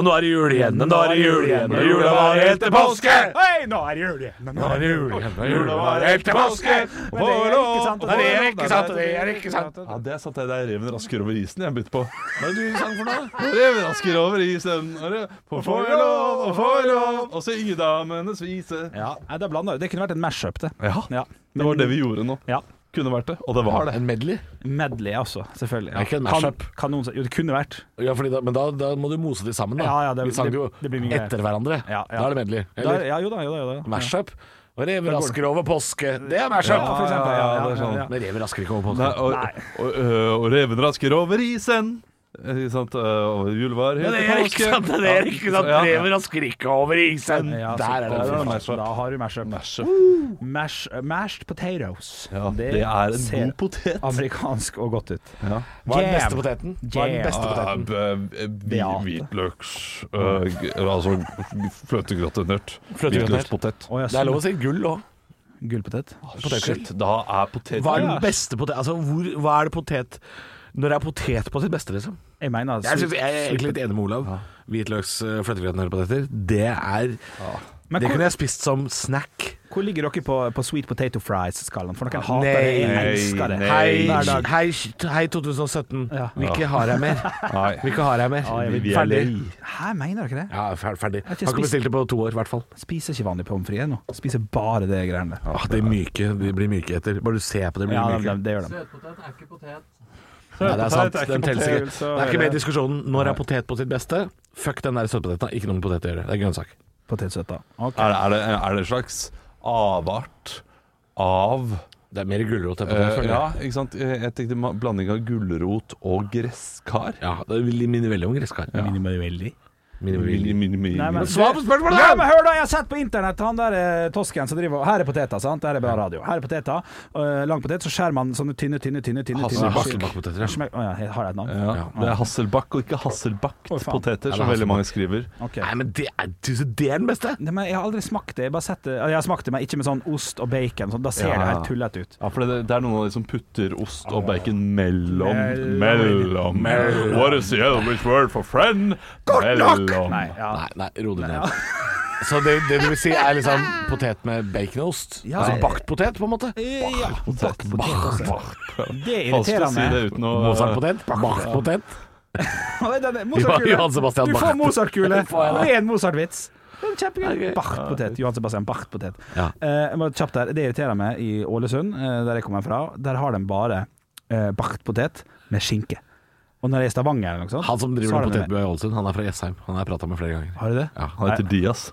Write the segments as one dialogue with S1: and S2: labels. S1: Og nå er det jul igjen, og nå er det jul igjen, og jula varer helt til påske!
S2: Hei, nå er det jul igjen. Nå
S1: Nå er det jul igjen, og jula varer helt til påske!
S2: Men det er ikke sant, og
S1: det er ikke sant, og det er ikke sant.
S3: Ja, det satt jeg der reven rasker over isen jeg bytte på. Hva er det du sang for noe? Reven rasker over isen, og det- for får jeg lov, og får jeg lov, og så i damenes vise.
S2: Ja, nei, det er blanda. Det kunne vært en mashup, det.
S3: Ja,
S2: Ja.
S3: det var det vi gjorde nå.
S2: Ja.
S3: Kunne vært det, og det var det.
S1: En medley?
S2: Medley også, selvfølgelig. Ja.
S1: Det er ikke en
S2: Kan-
S1: mashup.
S2: Kan noen si Jo, det kunne vært.
S1: Ja, fordi da, men da, da må du mose de sammen, da.
S2: Ja, ja, det-
S1: Vi sang jo
S2: det- det blir mye greier.
S1: etter hverandre.
S2: Ja, ja.
S1: Da er det medley.
S2: Da,
S1: Eller
S2: ja, jo da, jo da. Jo da. ja.
S1: mashup. Og reven rasker over påske. Det er mashup!
S2: Ja, for eksempel. Ja,
S3: Ja,
S2: ja,
S3: det er
S2: ja,
S3: sånn.
S2: ja.
S1: Men reven rasker ikke over
S3: Nei,
S1: påske.
S3: og, og, ø, og reven rasker over isen. Eh, Ikke sant? Ø, Og jul var helt Ja.
S1: rasker ikke over isen.
S2: Ja, så-
S1: Der er
S3: der
S1: det.
S3: er det.
S2: mashup. Da har du mashup.
S3: Mashup.
S2: Mash, eh, mashed potatoes.
S3: Ja, det er en god potet.
S2: amerikansk og godt ut.
S3: Ja. eh,
S1: Hva er den
S2: Jam.
S1: beste poteten? Hva er den
S2: Jam.
S1: beste poteten?
S2: Beate.
S3: Hvitløks ø, g- Altså fløtegratinert.
S1: Fløtegratinert.
S3: Hvitløkspotet. Ah,
S2: Å, ja,
S1: Det er lov
S2: sånn.
S1: å si gull òg.
S2: Gullpotet.
S3: Shit, da er potet
S1: Hva er
S2: Ja.
S1: den beste potet... Altså, hvor, hva er det potet Når er potet på sitt beste, liksom?
S2: Jeg mener
S1: Jeg, synes, jeg er egentlig litt enig med Olav. Hvitløks, eh, fløtegratinerte poteter, det er
S2: Men
S1: Det
S2: hvor,
S1: kunne jeg spist som snack.
S2: hvor ligger dere på, på sweet potato fries-skalaen? For noen hater det,
S1: Nei.
S2: jeg elsker det.
S3: Nei,
S1: Hei,
S2: Hver dag.
S1: hei, hei 2017.
S2: Ja.
S1: Hvilke har jeg mer?
S3: Nei.
S1: Hvilke har jeg mer?
S2: jeg vil-
S3: Vi er
S1: ferdig.
S3: lei.
S2: Hæ, mener dere det?
S1: Ja, fer- ferdig. Har
S2: har ikke
S1: ikke
S2: spist-
S1: bestilt det på to år, i hvert fall.
S2: Spiser ikke vanlig pommes frites nå. Spiser bare det greiene der.
S1: Ah, de, myke, de blir myke etter. Bare du ser på det, blir
S2: Ja,
S1: de
S2: det,
S1: myke.
S2: det gjør de.
S1: Nei, det er sant.
S3: Potet er
S1: Den
S3: ikke
S1: teller
S3: potet,
S1: sikkert. Det er ikke med i diskusjonen. Når er potet på sitt beste? Fuck den der søtpoteten. har Ikke noe med potet å gjøre. Det er grønnsak.
S2: Potetsøta.
S1: Ah.
S2: Ok.
S3: Er det, er, det, er det en slags avart av
S1: Det er mer gulrot enn
S3: Eh,
S1: potet. føler
S3: ja,
S1: jeg.
S3: ikke sant? Eh, Jeg tenkte ma- blanding av gulrot og gresskar.
S1: ja, det minner veldig om gresskar.
S2: Ja. Minimalveldig.
S1: Minner
S3: Mini,
S1: veldig.
S3: mini, mini.
S2: Nei, men-
S1: Svar på spørsmålet!
S2: Ja, men hør da, jeg har sett på internett han der eh, tosken som driver Her er poteter, sant? Her er bra radio. Her er poteter. eh, lang potet, så skjærer man sånne tynne, tynne, tynne tynne,
S3: Hasse-
S2: tynne.
S1: Hasselbakkpoteter, ja.
S2: Smekk- Å ja, har jeg et navn?
S3: ja, det er Hasselbakk og ikke
S2: Å, faen.
S1: Ja,
S3: Hasselbakt-poteter,
S1: det
S3: som
S1: er
S3: veldig mange skriver.
S2: Ok.
S1: Nei, men det er, det er den beste!
S2: Nei, men jeg har aldri smakt det. Jeg, har bare sett det. jeg har smakt det, men ikke med sånn ost og bacon. Sånn. Da ser
S3: Ja.
S2: det helt tullete ut.
S3: Ja, for det, det er noen av de som putter ost og bacon mellom
S2: Mellom.
S3: Mellom. What is the English word for friend? Mellom.
S2: Nei, ja.
S1: Nei, nei, ro deg ned. Så det, det du vil si er liksom potet med bacon og ost?
S2: Ja.
S1: Altså bakt potet, på en måte?
S2: ja. Bakt
S3: Potet.
S2: potet, altså. Det er
S3: Vanskelig å si
S2: irriterende.
S3: det uten å
S1: Mozartpotet? Bakt potet?
S2: Oi, den er-
S1: Ja, Johan Sebastian
S2: Mozartkule. Du får
S1: Bach.
S2: Mozartkule.
S1: Får jeg da.
S2: Det er en Mozart-vits. Det er en Kjempegøy.
S1: Ok.
S2: Bartpotet. Johan Sebastian Bartpotet.
S1: Ja.
S2: Eh, jeg må kjapt der. Det irriterer meg i Ålesund, eh, der jeg kommer fra. Der har de bare eh, bartpotet med skinke. Og når jeg er i Stavanger eller noe sånt
S1: Han som
S2: så
S1: driver
S2: har
S1: med
S2: de det.
S1: potetbua i Ålesund, han er fra Jessheim. Han har jeg prata med flere ganger.
S2: Har du det?
S1: Ja.
S3: Han heter Dias.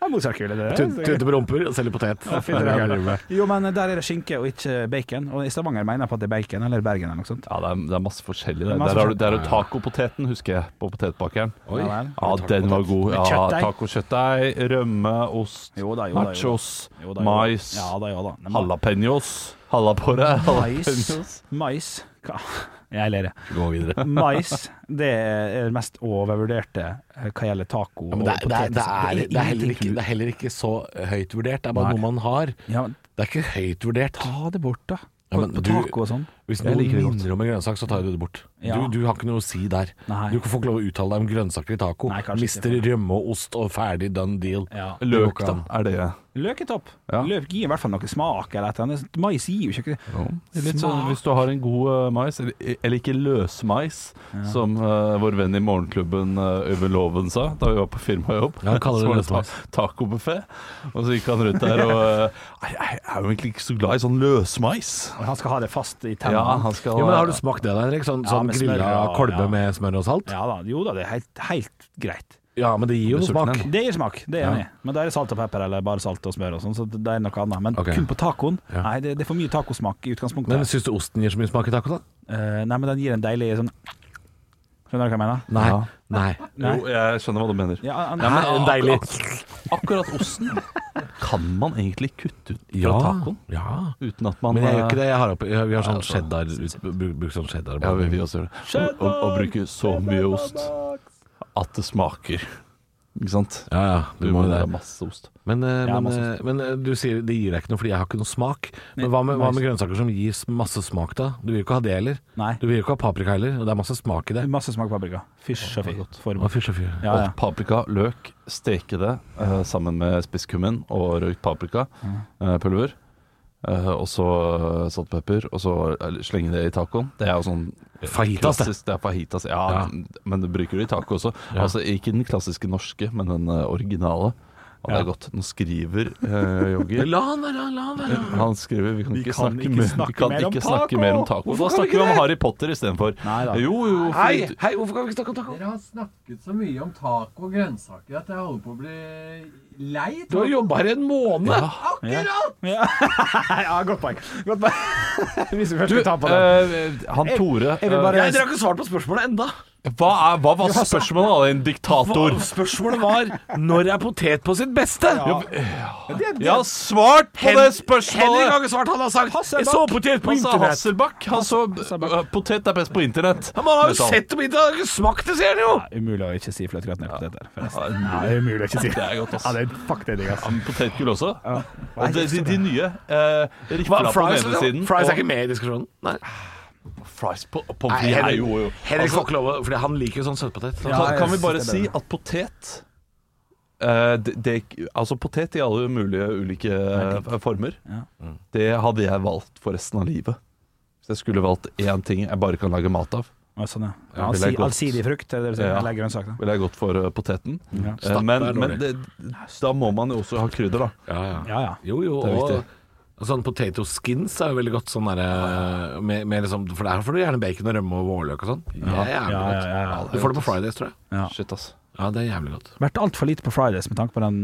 S2: Ja, Mozartkule. det er
S1: Tun-
S2: det.
S1: Tute på rumper og selger potet.
S2: finner jeg gjerne. Jo, men der er det skinke og ikke bacon. Og i Stavanger mener jeg på at det er bacon, eller Bergen eller noe sånt.
S3: Ja, det er, det er masse forskjellig. Der,
S2: masse
S3: der har du,
S2: forskjellig.
S3: der er jo tacopoteten, husker jeg, på potetbakeren.
S1: Oi.
S2: Ja, vel.
S3: Ja, den var god.
S2: Med
S3: Ja,
S2: kjøttdeig.
S3: Tacokjøttdeig, rømme, ost,
S2: Jo da, jo da, jo da.
S3: nachos,
S2: Jo da, jo da.
S3: mais,
S2: Ja da, jo da. Men-
S3: jalapeños, hallapore, jalapeños
S2: Mais. Mais. Hva? Jeg ler, jeg.
S1: Gå videre.
S2: Mais det er det mest overvurderte eh, hva gjelder taco
S1: Ja, men det, er-
S2: og
S1: det, er- det,
S2: poteter.
S1: er, det, er heller
S2: ingenting
S1: ikke, det er heller ikke så høyt vurdert. Det er bare noe man har.
S2: som- ja, men
S1: Det er ikke høyt vurdert.
S2: Ta det bort, da.
S1: Ja,
S2: På,
S1: men
S2: på
S1: du-
S2: taco og sånn.
S1: Hvis
S2: Jeg
S1: noen
S2: liker det godt.
S1: minner om en grønnsak, så tar du det bort.
S2: Ja.
S1: Du, du har ikke noe å si der.
S2: Nei.
S1: Du får ikke lov å uttale deg om grønnsaker i taco.
S2: Nei, kanskje
S1: Mister
S2: ikke.
S1: rømme og ost og ferdig done deal.
S2: Ja.
S3: Løk, da. Er det
S2: Løk er topp.
S3: Ja.
S2: Løk gir i hvert fall noe smak. Eller et eller annet. Mais gir jo ikke det.
S3: Det er litt sånn, Hvis du har en god eh, mais, eller, eller ikke løsmais, som eh, vår venn i morgenklubben eh, Øyvind Loven sa da vi var på firmajobb
S1: Ja, han kaller det
S3: Så var ta-
S1: løsmais.
S3: Tacobuffé. Og så gikk han rundt der og eh, «Nei, Jeg er jo egentlig ikke så glad i sånn løsmais.
S2: Og han skal ha det fast i
S3: Ja,
S2: tennene. Ja,
S3: han skal
S1: Jo, men Har du smakt det, da, Henrik? Sånn,
S2: Ja,
S1: sånn
S2: med smør,
S1: grilla
S2: ja,
S1: kolbe
S2: ja.
S1: med smør og salt? Ja.
S2: da. Jo da, det er helt, helt greit.
S1: men det gir jo
S3: Med
S1: noe smak.
S3: sulten
S2: Det gir smak, det er jeg enig i. Men da er det salt og pepper, eller bare salt og smør og sånn, så det er noe annet. Men
S1: Ok.
S2: kun på tacoen
S1: Ja.
S2: Nei, det, det er for mye tacosmak i utgangspunktet.
S1: Men syns du osten gir så mye smak i taco, da?
S2: Eh, nei, men den gir en deilig sånn Skjønner du hva jeg mener?
S1: Nei.
S3: Ja.
S1: Nei.
S3: Jo, jeg skjønner hva du mener.
S2: Ja, han,
S1: Nei, en deilig
S3: Akkurat osten kan man egentlig kutte ut fra tacoen.
S1: Ja.
S3: Uten at man
S1: Men jeg gjør ikke
S3: eh,
S1: det. Jeg har opp, jeg, vi har sånn
S3: altså,
S1: cheddar ut- bruk- Bruk sånn cheddar.
S3: Ja, vi, vi også gjør det. Å, å, å bruke så mye ost at det smaker. Ikke sant?
S1: Ja, ja, du må jo
S3: ha
S1: det.
S3: masse ost.
S1: Men, eh,
S2: Ja,
S1: men,
S2: masse
S1: eh, men eh, du sier det gir deg ikke noe fordi jeg har ikke noe smak. Men hva med, hva med grønnsaker som gir s- masse smak, da? Du vil jo ikke ha det heller.
S2: Nei.
S1: Du vil jo ikke ha paprika heller. Og det er masse smak i det.
S2: Masse smak paprika. Fysj og fy.
S1: Å,
S2: Form.
S1: fy, så fy.
S2: Mm. Ja, ja.
S3: Og paprika, løk, steke det eh, sammen med spisskummin og røykt paprika, eh, pulver. eh, og så eh, saltpepper, og så eh, slenge det i tacoen. Det er jo sånn
S1: Fajitas, det.
S3: klassisk- det. er fajitas, ja,
S1: Ja.
S3: Men du bruker det i taco også.
S1: Ja.
S3: Altså Ikke den klassiske norske, men den eh, originale. Og det
S2: Ja.
S3: er godt. Nå skriver eh, Jogger
S1: La han være, la han være.
S3: Han skriver vi kan ikke
S2: kan
S3: snakke,
S2: ikke
S3: mer-
S2: snakke
S3: vi kan
S2: mer om
S3: ikke
S2: taco.
S3: snakke mer om
S1: Hvorfor
S3: taco. Da
S1: kan vi
S3: snakker
S1: ikke
S3: vi om
S1: det?
S3: Harry Potter istedenfor.
S2: Nei da.
S3: Jo, jo.
S1: Hei,
S3: fordi-
S1: hei, hvorfor kan vi ikke snakke om taco?
S4: Dere har snakket så mye om taco og grønnsaker at jeg holder på å bli lei.
S1: Du har jobba her i en måned.
S4: Akkurat!
S2: Ja, godt poeng. Godt poeng. Hvis vi først
S3: Du,
S2: skal ta på den.
S3: eh, han Tore eh,
S2: jeg vil bare-
S1: Nei, Dere har ikke svart på spørsmålet enda.
S3: Hva, er, hva var spørsmålet da, din
S1: Hva,
S3: diktator?
S1: spørsmålet var når er potet på sitt beste? Ja.
S3: Jeg har svart på det
S1: Henrik har
S3: spørsmålet!
S1: ikke svart, han har sagt
S2: Hasselbakk.
S1: 'jeg så potet på
S3: Han sa
S1: internett'.
S3: Hasselbakk. Han så øh, potet er best på internett.
S1: Ja, men han har
S3: Det
S1: jo
S3: sa han.
S1: sett det på internett, han har ikke smakt det, sier han jo!
S2: Umulig å ikke si fløtekratnøtt på dette. her, forresten.
S3: Ja,
S2: Nei, umulig å ikke si
S3: Det er godt, ass.
S2: Ja, det er fuck det, er digg, ass.
S3: Ja, men Potetgull også.
S2: Nei,
S3: Og de, de, de nye eh,
S1: Hva,
S3: rifla på den
S1: fries,
S3: ene
S1: liksom?
S3: siden.
S1: fries er
S3: og
S1: ikke med i diskusjonen. Nei,
S3: fries på og pommes frites.
S1: Henrik,
S3: er jo- jo.
S1: Henrik
S3: Altså,
S1: får ikke lov, å- fordi han liker jo sånn søtpotet. Så-
S2: Ja,
S3: Kan,
S2: jeg
S3: kan vi
S2: synes
S3: bare
S2: det er
S3: si at potet eh, det, det, altså potet i alle mulige ulike eh, former.
S2: Ja.
S3: Det hadde jeg valgt for resten av livet. Hvis jeg skulle valgt én ting jeg bare kan lage mat av,
S2: Ja, sånn, ja.
S3: Ja, det er
S2: Allsi-
S3: godt.
S2: allsidig frukt, er det det du sier?
S3: Ja.
S2: Eller grønnsak, da.
S3: ville jeg gått for eh, poteten.
S2: Ja.
S3: Eh, men
S1: er
S3: men
S1: dårlig.
S3: det, da må man jo også ha krydder, da.
S1: Ja, ja.
S2: Ja, ja.
S1: Jo, jo,
S3: Det er
S1: og
S3: viktig.
S1: Sånn potato skins er jo veldig godt, sånn derre med, med liksom, For der får du gjerne bacon og rømme og vårløk og sånn. Det er jævlig
S2: Ja, ja,
S1: godt.
S2: ja, ja.
S1: Du får det på Fridays, tror jeg.
S2: Ja.
S3: Shit, ass.
S1: Ja, det er jævlig godt.
S2: Vært altfor lite på Fridays med tanke på den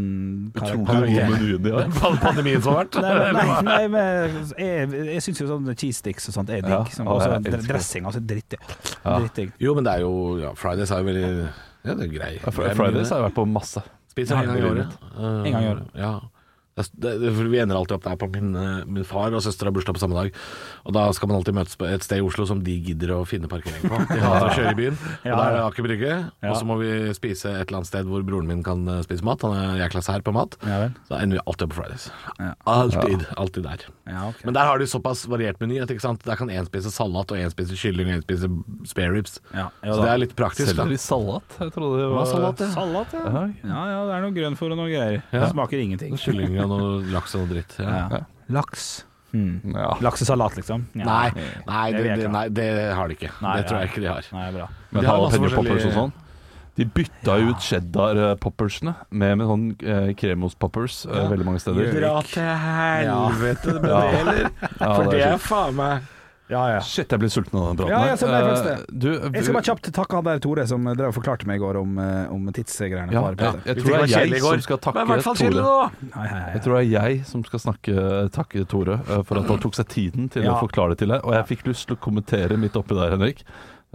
S2: kar-
S3: Utrolig
S2: karakteren.
S3: gode menyen de har.
S1: Pandemien som har vært.
S2: Nei, men- nei, nei men jeg, jeg syns jo sånn cheese sticks og sånt er digg.
S3: Ja,
S2: Liksom.
S3: og
S2: Og så
S3: jeg elsker det.
S2: dressing, altså drittig.
S3: Ja.
S2: Drittig.
S1: Jo, men det er jo ja, Fridays er jo veldig Ja, det er grei.
S3: Ja, Fr- Fridays har jeg vært på masse.
S1: Spiser en gang i
S3: Herlig
S1: året. Eh,
S2: En gang i året.
S1: Ja. Det, er- det, det- for vi ender alltid opp der på min, eh, min far og søster har bursdag på samme dag. Og da skal man alltid møtes på et sted i Oslo som de gidder å finne parkering på. De hater å kjøre i byen. Og da er det Aker Brygge. Og så må vi spise et eller annet sted hvor broren min kan eh, spise mat. Han er jækla sær på mat.
S2: Ja vel.
S1: Så da ender vi alltid opp på Fridays. Alltid. Alltid der.
S2: Ja, ok.
S1: Men der har de såpass variert meny at ikke sant? der kan én spise salat, og én spise kylling, og én spise spareribs.
S2: Ja, ja,
S1: Så det er litt praktisk, da.
S3: Selleri salat? Jeg trodde det var
S1: salat, ja.
S2: Salat, ja.
S3: Ja,
S2: Ja, ja, det er noe grønnfòr og noe greier. Det smaker ingenting.
S1: Kylling og noe laks og noe dritt. Ja.
S2: Ja. Laks. Hmm.
S3: ja.
S2: Laksesalat, liksom. Ja.
S1: Nei, nei,
S2: Det
S1: det,
S2: vil jeg
S1: det,
S2: ikke ha.
S1: nei, det har de ikke.
S2: Nei,
S1: det tror
S2: nei.
S1: jeg ikke de har.
S2: Nei, bra.
S3: Men
S1: De har masse
S3: jalapeno poppers og
S1: forskjellige-
S3: sånn. De bytta jo ut cheddar-poppersene med, med sånn eh, kremos-poppers eh, veldig mange steder.
S2: Dra
S1: til helvete med
S3: det,
S1: eller?
S3: Ja, det er sjukt.
S1: faen meg
S2: Ja, ja.
S3: Shit, jeg blir sulten av den praten.
S2: Ja,
S3: her.
S2: jeg ser meg faktisk
S3: Eh,
S2: det.
S3: Du,
S2: Jeg skal bare kjapt takke han der Tore som drev og forklarte meg i går om, eh, om tidsgreiene.
S3: ja,
S2: på
S3: ja,
S2: arbeidet.
S3: jeg
S1: Vi
S3: tror
S1: fikk
S3: det
S1: være
S3: er
S1: kjedelige i
S3: jeg
S1: går.
S3: som skal
S1: Men i hvert
S3: takke
S1: fall kjedelig
S3: Tore.
S1: nå!
S2: Hei, hei, hei.
S3: Jeg tror det er jeg som skal snakke, takke Tore eh, for at han tok seg tiden til
S2: Ja.
S3: å forklare det til deg. Og jeg fikk lyst til å kommentere midt oppi der, Henrik.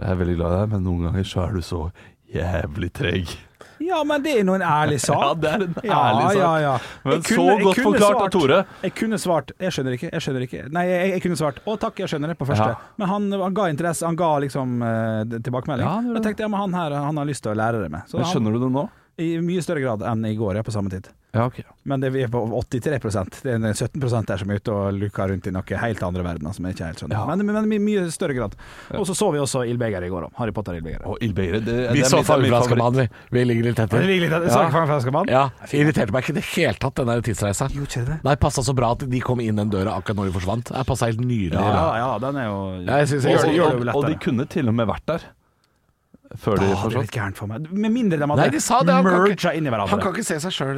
S3: Jeg er veldig glad i deg, men noen ganger så er du så jævlig treg.
S2: Ja, men det er nå en ærlig sak.
S3: Ja, det er en
S2: Ja,
S3: ærlig sak.
S2: ja, ja.
S3: Men
S2: Jeg kunne-
S3: så
S2: jeg
S3: godt
S2: kunne
S3: forklart av
S2: svart-
S3: Tore.
S2: Jeg kunne svart 'jeg skjønner ikke', 'jeg skjønner ikke'. Nei, jeg, jeg kunne svart 'å takk, jeg skjønner det' på første.
S3: Ja.
S2: Men han, han ga interesse, han ga liksom eh, d- tilbakemelding.
S3: Ja, det gjorde
S2: da tenkte jeg men han her han har lyst til å lære det med. Så
S3: Men
S2: han,
S3: skjønner du det nå?
S2: I mye større grad enn i går, ja, på samme tid.
S3: Ja, ok.
S2: Men det, vi er på 83 Det er en 17 der som er ute og luker rundt i noe helt andre verdener som jeg ikke helt skjønner.
S3: Ja.
S2: Men, men i mye større grad. Og så så vi også Ildbeger i går òg. Harry Potter-ildbeger.
S3: Og Ildbeire, det,
S1: Vi
S3: det er
S1: så
S3: mitt- det er
S1: fra
S3: mitt favoritt.
S1: Utenlandskamannen, vi. Vi ligger litt
S2: Det
S1: etter.
S2: ligger litt av det. Sa ikke Frank Franskamann?
S1: Ja, Irriterte meg ikke i det hele tatt, den der tidsreisa.
S2: Gjorde ikke det?
S1: Nei, passa så bra at de kom inn den døra akkurat når de forsvant. Det passa helt nydelig.
S2: Ja, ja, den er jo
S1: Ja, jeg synes jeg
S2: Og-
S1: gjør det- gjør
S2: jo
S3: Og, og de
S2: lettere.
S3: kunne til og med vært der før
S2: Da
S3: de
S2: hadde det
S3: forsvant.
S2: blitt gærent for meg. Med mindre de hadde
S1: Nei, de sa det. Han kan
S2: merga
S1: ikke-
S2: inn i
S1: Han
S2: hverandre.
S1: kan ikke se seg sjøl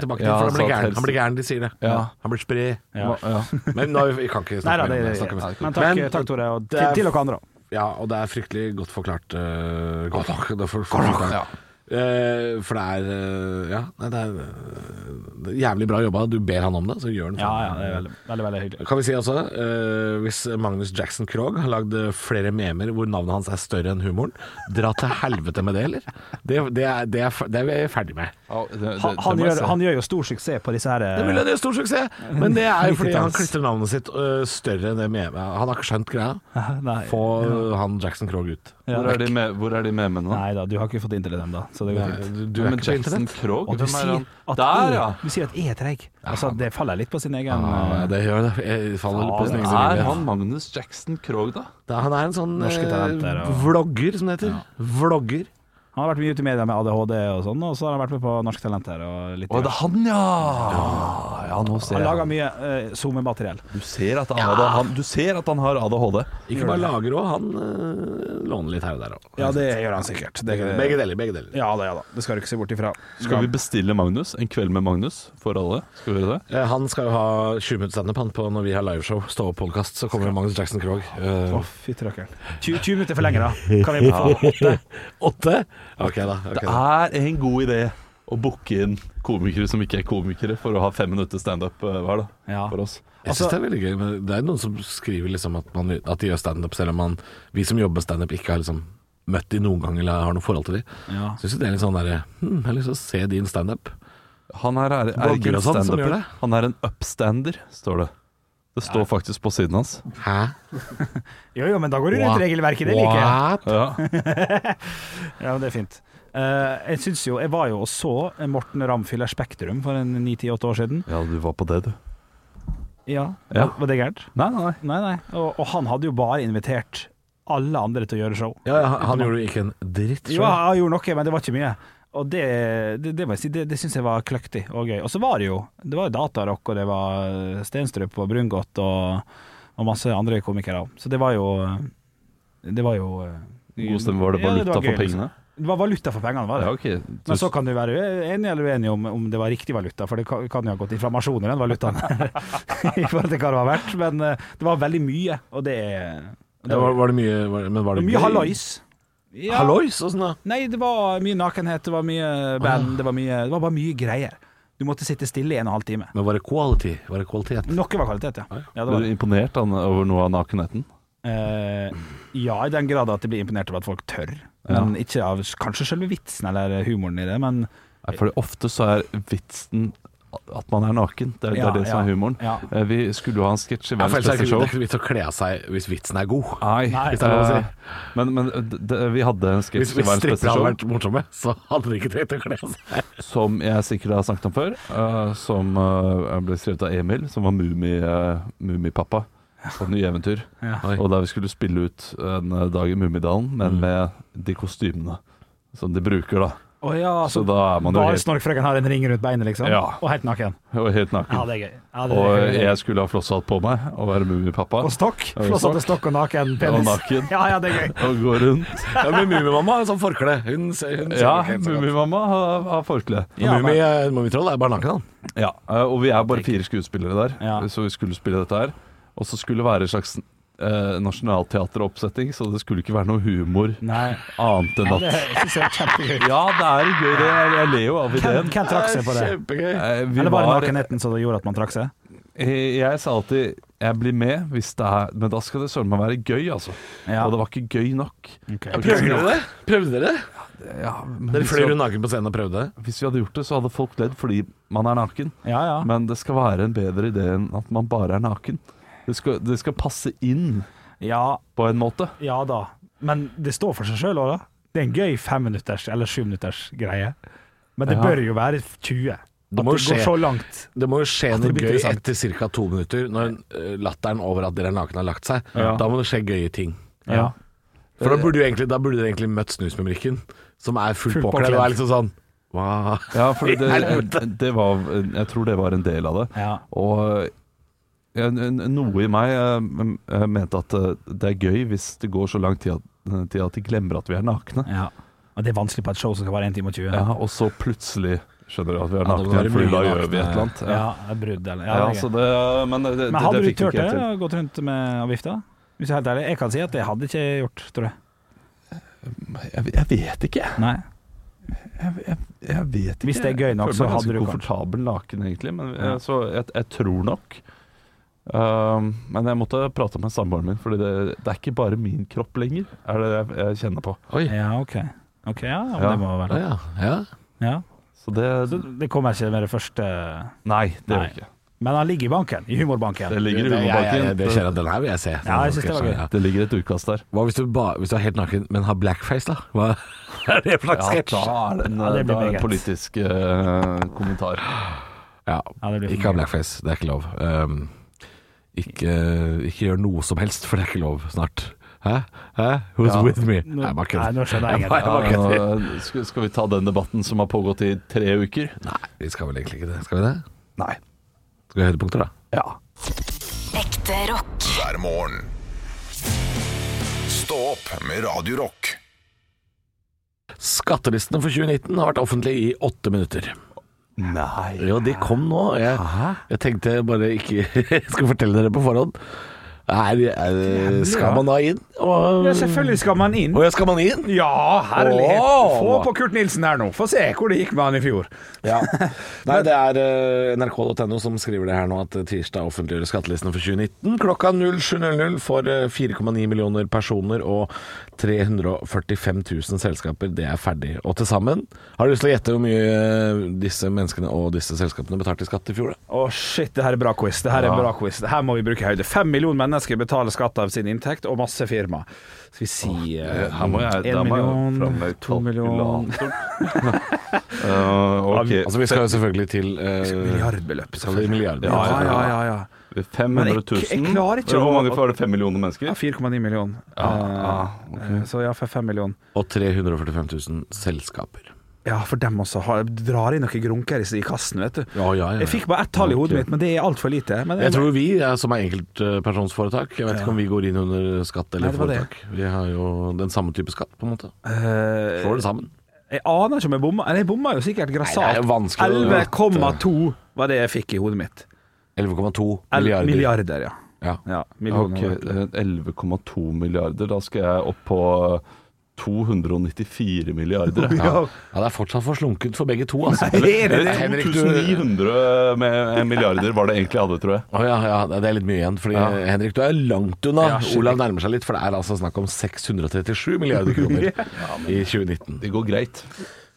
S1: tilbake til,
S3: Ja,
S1: for han blir
S3: sant,
S1: gæren.
S3: helst.
S1: Han blir gæren, de sier det.
S3: Ja.
S1: Han blir spre.
S3: Ja. Ja.
S1: Men nå, vi kan ikke
S2: Nei da,
S1: snakke mer om
S2: det,
S1: det.
S2: det,
S1: snakke mer.
S2: men takk,
S1: Men-
S2: takk Tore, og
S1: det
S2: til,
S1: er-
S2: til dere andre òg.
S1: Ja, og det er fryktelig godt forklart. eh, godt nok. Det er for,
S3: ja.
S1: Eh, for det er eh, Ja, nei, det er, eh, det er jævlig bra jobba. Du ber han om det, så gjør han det.
S2: Ja, ja, det er veldig, veldig, veldig hyggelig.
S1: Kan vi si altså, eh, hvis Magnus Jackson Krogh har lagd eh, flere memer hvor navnet hans er større enn humoren, dra til helvete med det, eller? Det, det, er, det, er, f- det er vi ferdig med.
S3: Ja, det- det-
S2: Han,
S3: det
S2: han,
S3: må jeg
S2: gjør,
S3: se.
S2: han gjør jo stor suksess på disse her eh,
S1: Det er mulig det er stor suksess, men det er jo fordi han
S2: 90-talls.
S1: klistrer navnet sitt eh, større enn det memet. Han har ikke skjønt greia.
S2: eh, Nei,
S1: Få eh, han Jackson Krogh ut.
S3: Hvor er de, med, hvor er de memene?
S2: nei da, du har ikke fått inn til dem, da. så det går fint.
S1: Du, du er
S3: men
S1: ikke på
S3: Jackson
S1: internett.
S3: Krog,
S2: Og du
S3: hvem er
S2: sier
S3: han?
S2: at E-
S3: Der, ja!
S2: Du sier at E er treig. Altså, det faller litt på sin egen
S1: Ah, Ja,
S2: eh,
S1: det gjør det. Jeg faller på sin egen
S3: Hvem er
S1: urimelighet.
S3: han Magnus Jackson Krog, da?
S1: Da, Han er en sånn
S2: Norske talenter,
S1: eh,
S2: og-
S1: vlogger, som det heter. Vlogger.
S2: Han har vært mye ute i media med ADHD og sånn, og så har han vært med på Norsk Talent her og litt
S3: Å, det er han, ja! Ja, nå ser
S2: Han
S3: jeg.
S2: lager mye eh, SoMe-materiell.
S3: Du ser at han, hadde, han, du ser at han har ADHD.
S1: Ikke bare lager òg, han eh, låner litt her og der òg.
S2: Ja, det gjør han sikkert. Det,
S1: Begge deler. begge deler
S2: ja da, ja da. Det skal du ikke se bort ifra.
S3: Skal vi bestille Magnus? En kveld med Magnus for alle? Skal vi gjøre det?
S1: Eh, Han skal jo ha 20 minutter standup han, på når vi har liveshow. Stå opp podkast, så kommer Magnus Jackson Krog. Eh,
S2: Å, fytti rakkeren. 20, 20 minutter for lenge, da. Kan vi få åtte?
S1: Åtte? Ok, da. ok
S3: Det
S1: da.
S3: er en god idé å booke inn komikere som ikke er komikere, for å ha fem minutter standup eh, hver, da.
S2: Ja.
S3: For oss.
S1: Jeg synes det er veldig gøy. Men det er noen som skriver liksom at, man, at de gjør standup, selv om man, vi som jobber med standup, ikke har liksom møtt de noen gang eller har noe forhold til de.
S2: Ja.
S1: Syns jo det er litt sånn derre hm, Jeg har lyst til å se din standup.
S3: Han her er, er ikke
S1: Blogger
S3: en
S1: og sånn som gjør
S3: standuper.
S1: det.
S3: Han er en upstander, står det. Det står faktisk på siden hans.
S1: Hæ?
S2: Jo, jo, men da går du rundt regelverket. Det liker jeg.
S1: What?
S3: Ja.
S2: Ja, men det er fint. Eh, jeg syns jo Jeg var jo og så Morten Ramfyller Spektrum for en 9-10-8 år siden.
S3: ja, du var på det, du.
S2: Ja,
S3: Ja.
S2: Var det gærent?
S3: Nei, nei, nei.
S2: Nei, nei. Og, og han hadde jo bare invitert alle andre til å gjøre show.
S1: Ja, ja, han, han gjorde jo ikke en dritt.
S2: Jo,
S1: selv.
S2: han gjorde noe, men det var ikke mye. Og det, det, det må jeg si, det, det syns jeg var kløktig og gøy. Og så var det jo Det var jo datarock, og det var eh, Stenstrup og Brungot og, og masse andre komikere. Så det var jo eh, Det var jo eh,
S3: God stemme, var det
S2: Ja,
S3: valuta
S2: var gøy,
S3: for pengene?
S2: liksom. Det var valuta for pengene, var det.
S3: Ja, ok.
S2: Men så kan du være enig eller uenig om, om det var riktig valuta, for det kan, kan jo ha gått inflammasjon i den valutaen i forhold til hva det var verdt. Men eh, det var veldig mye, og det er
S1: Ja, var, var det mye var, Men var det
S2: Mye hallois. Ja.
S1: Hallois og sånn, da.
S2: Nei, det var mye nakenhet, det var mye
S3: Ah.
S2: band, det var, mye, det var bare mye greier. Du måtte sitte stille i en og en halv time.
S1: Men var det quality? Var det kvalitet?
S2: Noe var kvalitet, ja. Ja, det
S3: Ble
S2: var.
S3: Ah, du
S2: det.
S3: imponert han, over noe av nakenheten?
S2: Eh, ja i den grad at jeg blir imponert over at folk tør. Men ikke av kanskje selve vitsen eller humoren i det, men
S3: Nei, for ofte så er vitsen at man er naken. Det er det,
S2: Ja,
S3: er det som
S2: ja.
S3: er humoren.
S2: Ja.
S3: Eh, Vi skulle jo ha en sketsj i
S1: Ja, for ellers
S3: verdens
S1: er
S3: beste
S1: det ikke-
S3: show.
S1: det er ikke vits å kle av seg hvis vitsen er god.
S3: Nei,
S1: hvis det er lov å si.
S3: eh, men, men d- d- vi hadde en
S1: Hvis,
S3: sketsj i
S1: hvis
S3: verdens
S1: strippere
S3: beste
S1: hadde
S3: show
S1: vært morsomme, så hadde de ikke trengt å kle av seg.
S3: som jeg sikkert har snakket om før, eh, som eh, ble skrevet av Emil, som var mumi, eh, Mumipappa på Nye Eventyr.
S1: Oi. Mm.
S3: Og der vi skulle spille ut en eh, dag i Mummidalen, men med de kostymene som de bruker, da.
S2: Å ja,
S3: Så
S1: Altså,
S2: så
S3: da er man jo
S2: bare
S3: helt,
S2: Snorkfrøken har en ring rundt beinet, liksom?
S3: Ja.
S2: Og helt naken?
S3: jo helt naken.
S2: Ja, det er gøy. Ja, det er
S3: Og
S2: gøy.
S3: jeg skulle ha flosshatt på meg og være Mummipappa.
S2: Og stokk?
S3: og
S2: Flossete stokk og naken
S3: Og
S2: penis?
S3: naken.
S2: Ja, ja, det er gøy.
S3: Og gå rundt.
S1: Ja, men Mummimamma har sånn forkle. Hun ser, hun ser
S3: Ja,
S1: ikke helt så godt.
S3: Mummimamma har, har forkle.
S2: Ja,
S1: Mummi, eh, Mummitroll er bare naken, han.
S3: Ja, eh, og vi er bare fire skuespillere der,
S2: Ja.
S3: så vi skulle spille dette her. Og så skulle det være en slags eh, nasjonalteateroppsetting, så det skulle ikke være noe humor
S2: Nei,
S3: annet enn
S2: det
S3: at
S2: syns jeg er kjempegøy.
S3: Ja, det er en gøy idé, jeg, jeg ler jo av ideen.
S2: Hvem trakk seg på det?
S1: Kjempegøy.
S3: Eh, vi
S2: Eller bare
S3: var-
S2: nakenheten som gjorde at man trakk seg?
S3: Eh, Jeg sa alltid 'jeg blir med', hvis det er, men da skal det søren meg være gøy, altså.
S2: Ja. Mm.
S3: Og det var ikke gøy nok.
S2: Ok.
S1: Prøvde dere det? Prøvde dere?
S3: Ja, men
S1: Dere
S3: hvis,
S1: fløy
S3: vi,
S1: rundt naken på scenen og prøvde?
S3: hvis vi hadde gjort det, så hadde folk ledd fordi man er naken.
S2: Ja, ja.
S3: Men det skal være en bedre idé enn at man bare er naken. Det skal, det skal passe inn
S2: ja,
S3: på en måte.
S2: ja da. Men det står for seg sjøl òg, da. Det er en gøy femminutters eller sjuminutters greie. Men det
S3: Ja.
S2: bør jo være 20. At det
S1: må
S2: går
S1: jo skje.
S2: så langt.
S1: Det må jo skje
S2: At det
S1: noe
S2: blir
S1: gøy
S2: interessant.
S1: etter ca. to minutter, når eh, latteren over at dere er nakne har lagt seg.
S2: Ja.
S1: Da må det skje gøye ting.
S2: Ja.
S1: For da burde, du egentlig, da burde du egentlig møtt Snusmumrikken, som er fullt
S2: Fullt
S1: påkledd.
S2: påkledd.
S1: Og er liksom sånn wow.
S3: Ja, for det,
S1: Helvete.
S3: det var Jeg tror det var en del av det.
S2: Ja.
S3: Og ja, n- n- noe i meg eh, m- eh, mente at eh, det er gøy hvis det går så lang tid at, eh, tid at de glemmer at vi er nakne.
S2: ja. Og det er vanskelig på et show som skal være 1 time og 20.
S3: Ja, og så plutselig skjønner du at vi er
S1: Ja, det må
S3: nakne,
S1: være
S3: igjen, fordi
S1: mye
S3: da gjør
S1: nakne.
S3: vi et eller annet.
S2: Ja,
S3: Ja.
S2: det er brudd eller ja,
S3: Ja,
S2: det er
S3: så
S2: gøy.
S3: det, eh, men det, det,
S2: Men hadde
S3: det
S2: du
S3: fikk vi
S2: turt
S3: ikke
S2: det?
S3: helt
S2: å
S3: til.
S2: Gått rundt med avgifta? Hvis jeg er helt ærlig. Jeg kan si at det hadde ikke jeg gjort, tror jeg.
S3: Jeg, jeg vet ikke.
S2: Nei.
S3: Jeg, jeg, jeg vet ikke.
S2: Hvis det er gøy nok, så hadde
S3: Jeg føler
S2: du
S3: meg ganske
S2: kanskje-
S3: komfortabel naken, egentlig. Men
S2: Ja.
S3: jeg, så jeg, jeg tror nok. Um, men jeg måtte prate med samboeren min, Fordi det, det er ikke bare min kropp lenger. Er det jeg, jeg kjenner på.
S1: Oi.
S2: Ja, OK. Ok, ja, ja, men
S3: Ja.
S2: det må
S1: Ja,
S2: være
S1: ja. ja.
S2: ja.
S3: Så det
S2: Så det kommer ikke med det første
S3: Nei, det gjør
S2: Nei.
S3: jeg ikke.
S2: Men han ligger i banken, i humorbanken.
S3: Det ligger i
S1: Det- jeg- jeg- jeg- Det skjer
S3: humorbanken.
S1: at den her vil jeg se. sånn,
S2: Ja, jeg synes det var gøy.
S3: Det ligger et utkast der.
S1: Hva hvis du, ba, hvis du er helt naken, men har blackface, da? Hva? er det for slags
S3: Ja,
S1: sketsj?
S3: da er det en,
S2: Ja, det blir
S3: da er det
S2: meget.
S3: en politisk eh, kommentar.
S1: Ja,
S2: Ja, det blir for
S1: ikke ha
S2: mye.
S1: blackface, det er ikke lov. Um, ikke, ikke gjør noe som helst, for det er ikke lov snart. Hæ? Hæ? Who's
S3: Ja.
S1: with me?
S2: Nå-
S1: Nei, bare kødd.
S2: Nei, nå skjønner jeg
S1: Jeg bare-
S2: ingenting.
S3: Ja,
S1: var ikke
S3: nå Eh, skal, skal vi ta den debatten som har pågått i tre uker?
S1: Nei, vi skal vel egentlig ikke det. Skal vi det?
S3: Nei.
S1: Skal vi ha høydepunkter, da?
S3: Ja.
S5: Ekte rock.
S6: hver morgen. Stå opp med Radio Rock.
S1: Skattelistene for 2019 har vært offentlige i åtte minutter.
S3: Nei.
S1: Jo, de kom nå. Jeg, jeg tenkte bare ikke Jeg skal fortelle dere på forhånd. Nei, eh, skal man da inn? Og,
S2: Ja, selvfølgelig skal man inn.
S1: og skal man inn?
S2: Ja, herlighet.
S1: Åh.
S2: Få på Kurt Nilsen her nå. Få se hvor det gikk med han i fjor.
S1: Ja. Nei, det er eh, nrk.no som skriver det her nå, at tirsdag offentliggjør skattelistene for 2019 klokka 07.00 for eh, 4,9 millioner personer og 345 000 selskaper. Det er ferdig. Og til sammen Har du lyst til å gjette hvor mye eh, disse menneskene og disse selskapene betalte i skatt i fjor? da?
S2: Å shit, det her er bra quiz. Det her er bra quiz. Det her må vi bruke høyde. Fem millioner mennesker betaler skatt av sin inntekt, og masse firma. Skal vi si eh,
S3: Her må jeg,
S2: En
S3: da må jeg
S2: million,
S3: fram med
S2: to millioner.
S3: kalkulatoren. Eh, ok.
S1: Altså, vi skal jo selvfølgelig til eh,
S2: Milliardbeløp,
S1: skal vi milliarder.
S2: Ja, ja, ja. ja, ja.
S3: 500 000.
S2: Men jeg- jeg klarer ikke
S3: Hvor
S2: å-
S3: mange får det? 5 millioner mennesker?
S2: Ja, 4,9 millioner. Eh, eh, Så ja, for 5 millioner.
S1: Og 345 000 selskaper.
S2: Ja, for dem også. Har, drar inn noen grunker i, i kassen, vet du.
S1: Ja, ja, ja.
S2: Jeg fikk bare ett tall i hodet mitt, men det er altfor lite. Men
S1: Jeg tror vi er som er enkeltpersonsforetak. Jeg vet ikke om vi går inn under skatt eller
S2: Nei, det var det.
S1: foretak. Vi har jo den samme type skatt, på en måte.
S2: Eh,
S1: Slår det sammen.
S2: Jeg aner ikke om jeg bomma. Eller jeg bomma jo sikkert
S1: Nei, det
S2: grassat.
S1: er jo vanskelig å vite.
S2: 11,2 var det jeg fikk i hodet mitt.
S1: 11,2
S2: El-
S1: milliarder.
S2: milliarder ja.
S1: Ja.
S2: ja
S3: Ok,
S2: millioner.
S3: eh, 11,2 milliarder. Da skal jeg opp på 294 milliarder. jeg.
S2: Ja.
S1: ja, det er fortsatt for slunkent for begge to, altså.
S2: Nei, det er det.
S1: Henrik, du
S3: 2900 med eh, milliarder var det egentlig jeg hadde, tror jeg.
S1: Å ja, ja, det er litt mye igjen. Fordi eh, Henrik, du er langt unna.
S2: Ja, shit.
S1: Olav nærmer seg litt, for det er altså snakk om 637 milliarder kroner i 2019.
S3: Det går greit.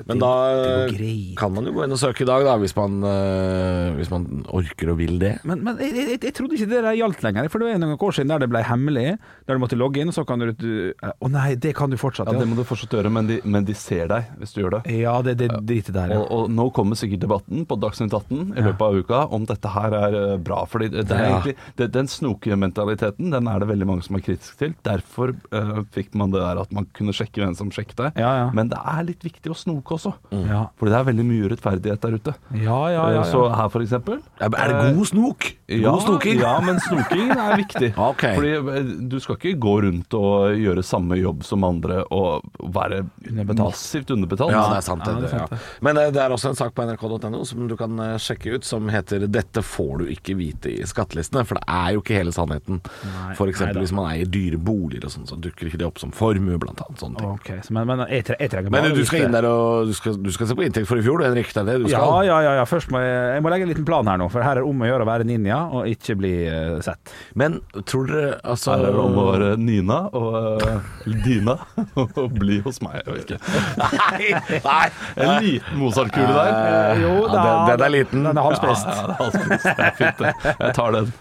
S1: Men da eh,
S2: det går greit.
S1: kan man jo gå inn og søke i dag, da, hvis man, eh, hvis man orker og vil det.
S2: Men, men jeg, jeg, jeg trodde ikke det der gjaldt lenger, for det var noen år siden der det ble hemmelig. Der du måtte logge inn, og så kan du du- Å nei, det kan du fortsatt.
S3: Ja, Det må du fortsatt gjøre, men de, men de ser deg hvis du gjør det.
S2: Ja, det, det dritet der, ja.
S3: Og, og nå kommer sikkert debatten på Dagsnytt 18 i løpet av uka om dette her er eh, bra. fordi det er
S1: Ja.
S3: egentlig, det, Den snokementaliteten den er det veldig mange som er kritiske til. Derfor eh, fikk man det der at man kunne sjekke hvem som sjekket deg.
S2: Ja, ja.
S3: Men det er litt viktig å snoke også.
S1: Mm.
S2: Ja,
S3: Fordi det er veldig mye urettferdighet der ute.
S2: ja, ja. ja,
S3: Eh, Så
S2: ja.
S3: her for eksempel
S1: Er
S2: Eh,
S1: det god snok? god snoking?
S3: Ja, men snoking er viktig.
S1: Ok.
S3: Fordi eh, du skal ikke gå rundt og gjøre samme jobb som andre og være
S2: Underbetalt.
S3: massivt underbetalt.
S1: Ja, det er sant.
S2: Ja,
S1: det,
S2: det er sant,
S1: ja. Men eh, det er også en sak på nrk.no som du kan eh, sjekke ut, som heter 'Dette får du ikke vite i skattelistene', for det er jo ikke hele sannheten.
S2: Nei,
S1: F.eks.
S2: nei da.
S1: hvis man eier dyre boliger og sånn, så dukker ikke det opp som formue, blant annet. Sånne ting.
S2: Ok, så, men, men jeg, tre, jeg trenger
S1: Men eh,
S2: bare
S1: du
S2: vite-
S1: skal inn der og du skal, du skal se på inntekt for i fjor, du, Henrik. Det er det du
S2: Ja,
S1: skal.
S2: ja, ja, ja. Først må jeg, jeg må legge en liten plan her nå, for her er det om å gjøre å være ninja og ikke bli eh, sett.
S1: Men tror dere altså
S3: Her er det om å være Nina og eh, Dina og bli hos meg. Jeg vet ikke.
S1: Nei! nei.
S3: En liten Mozart-kule der.
S2: Eh, jo
S1: ja,
S2: da,
S1: den- den er liten.
S2: Den er
S3: Ja,
S2: halvspist.
S3: ja, det er halvspist. Det er fint, det. Jeg tar den.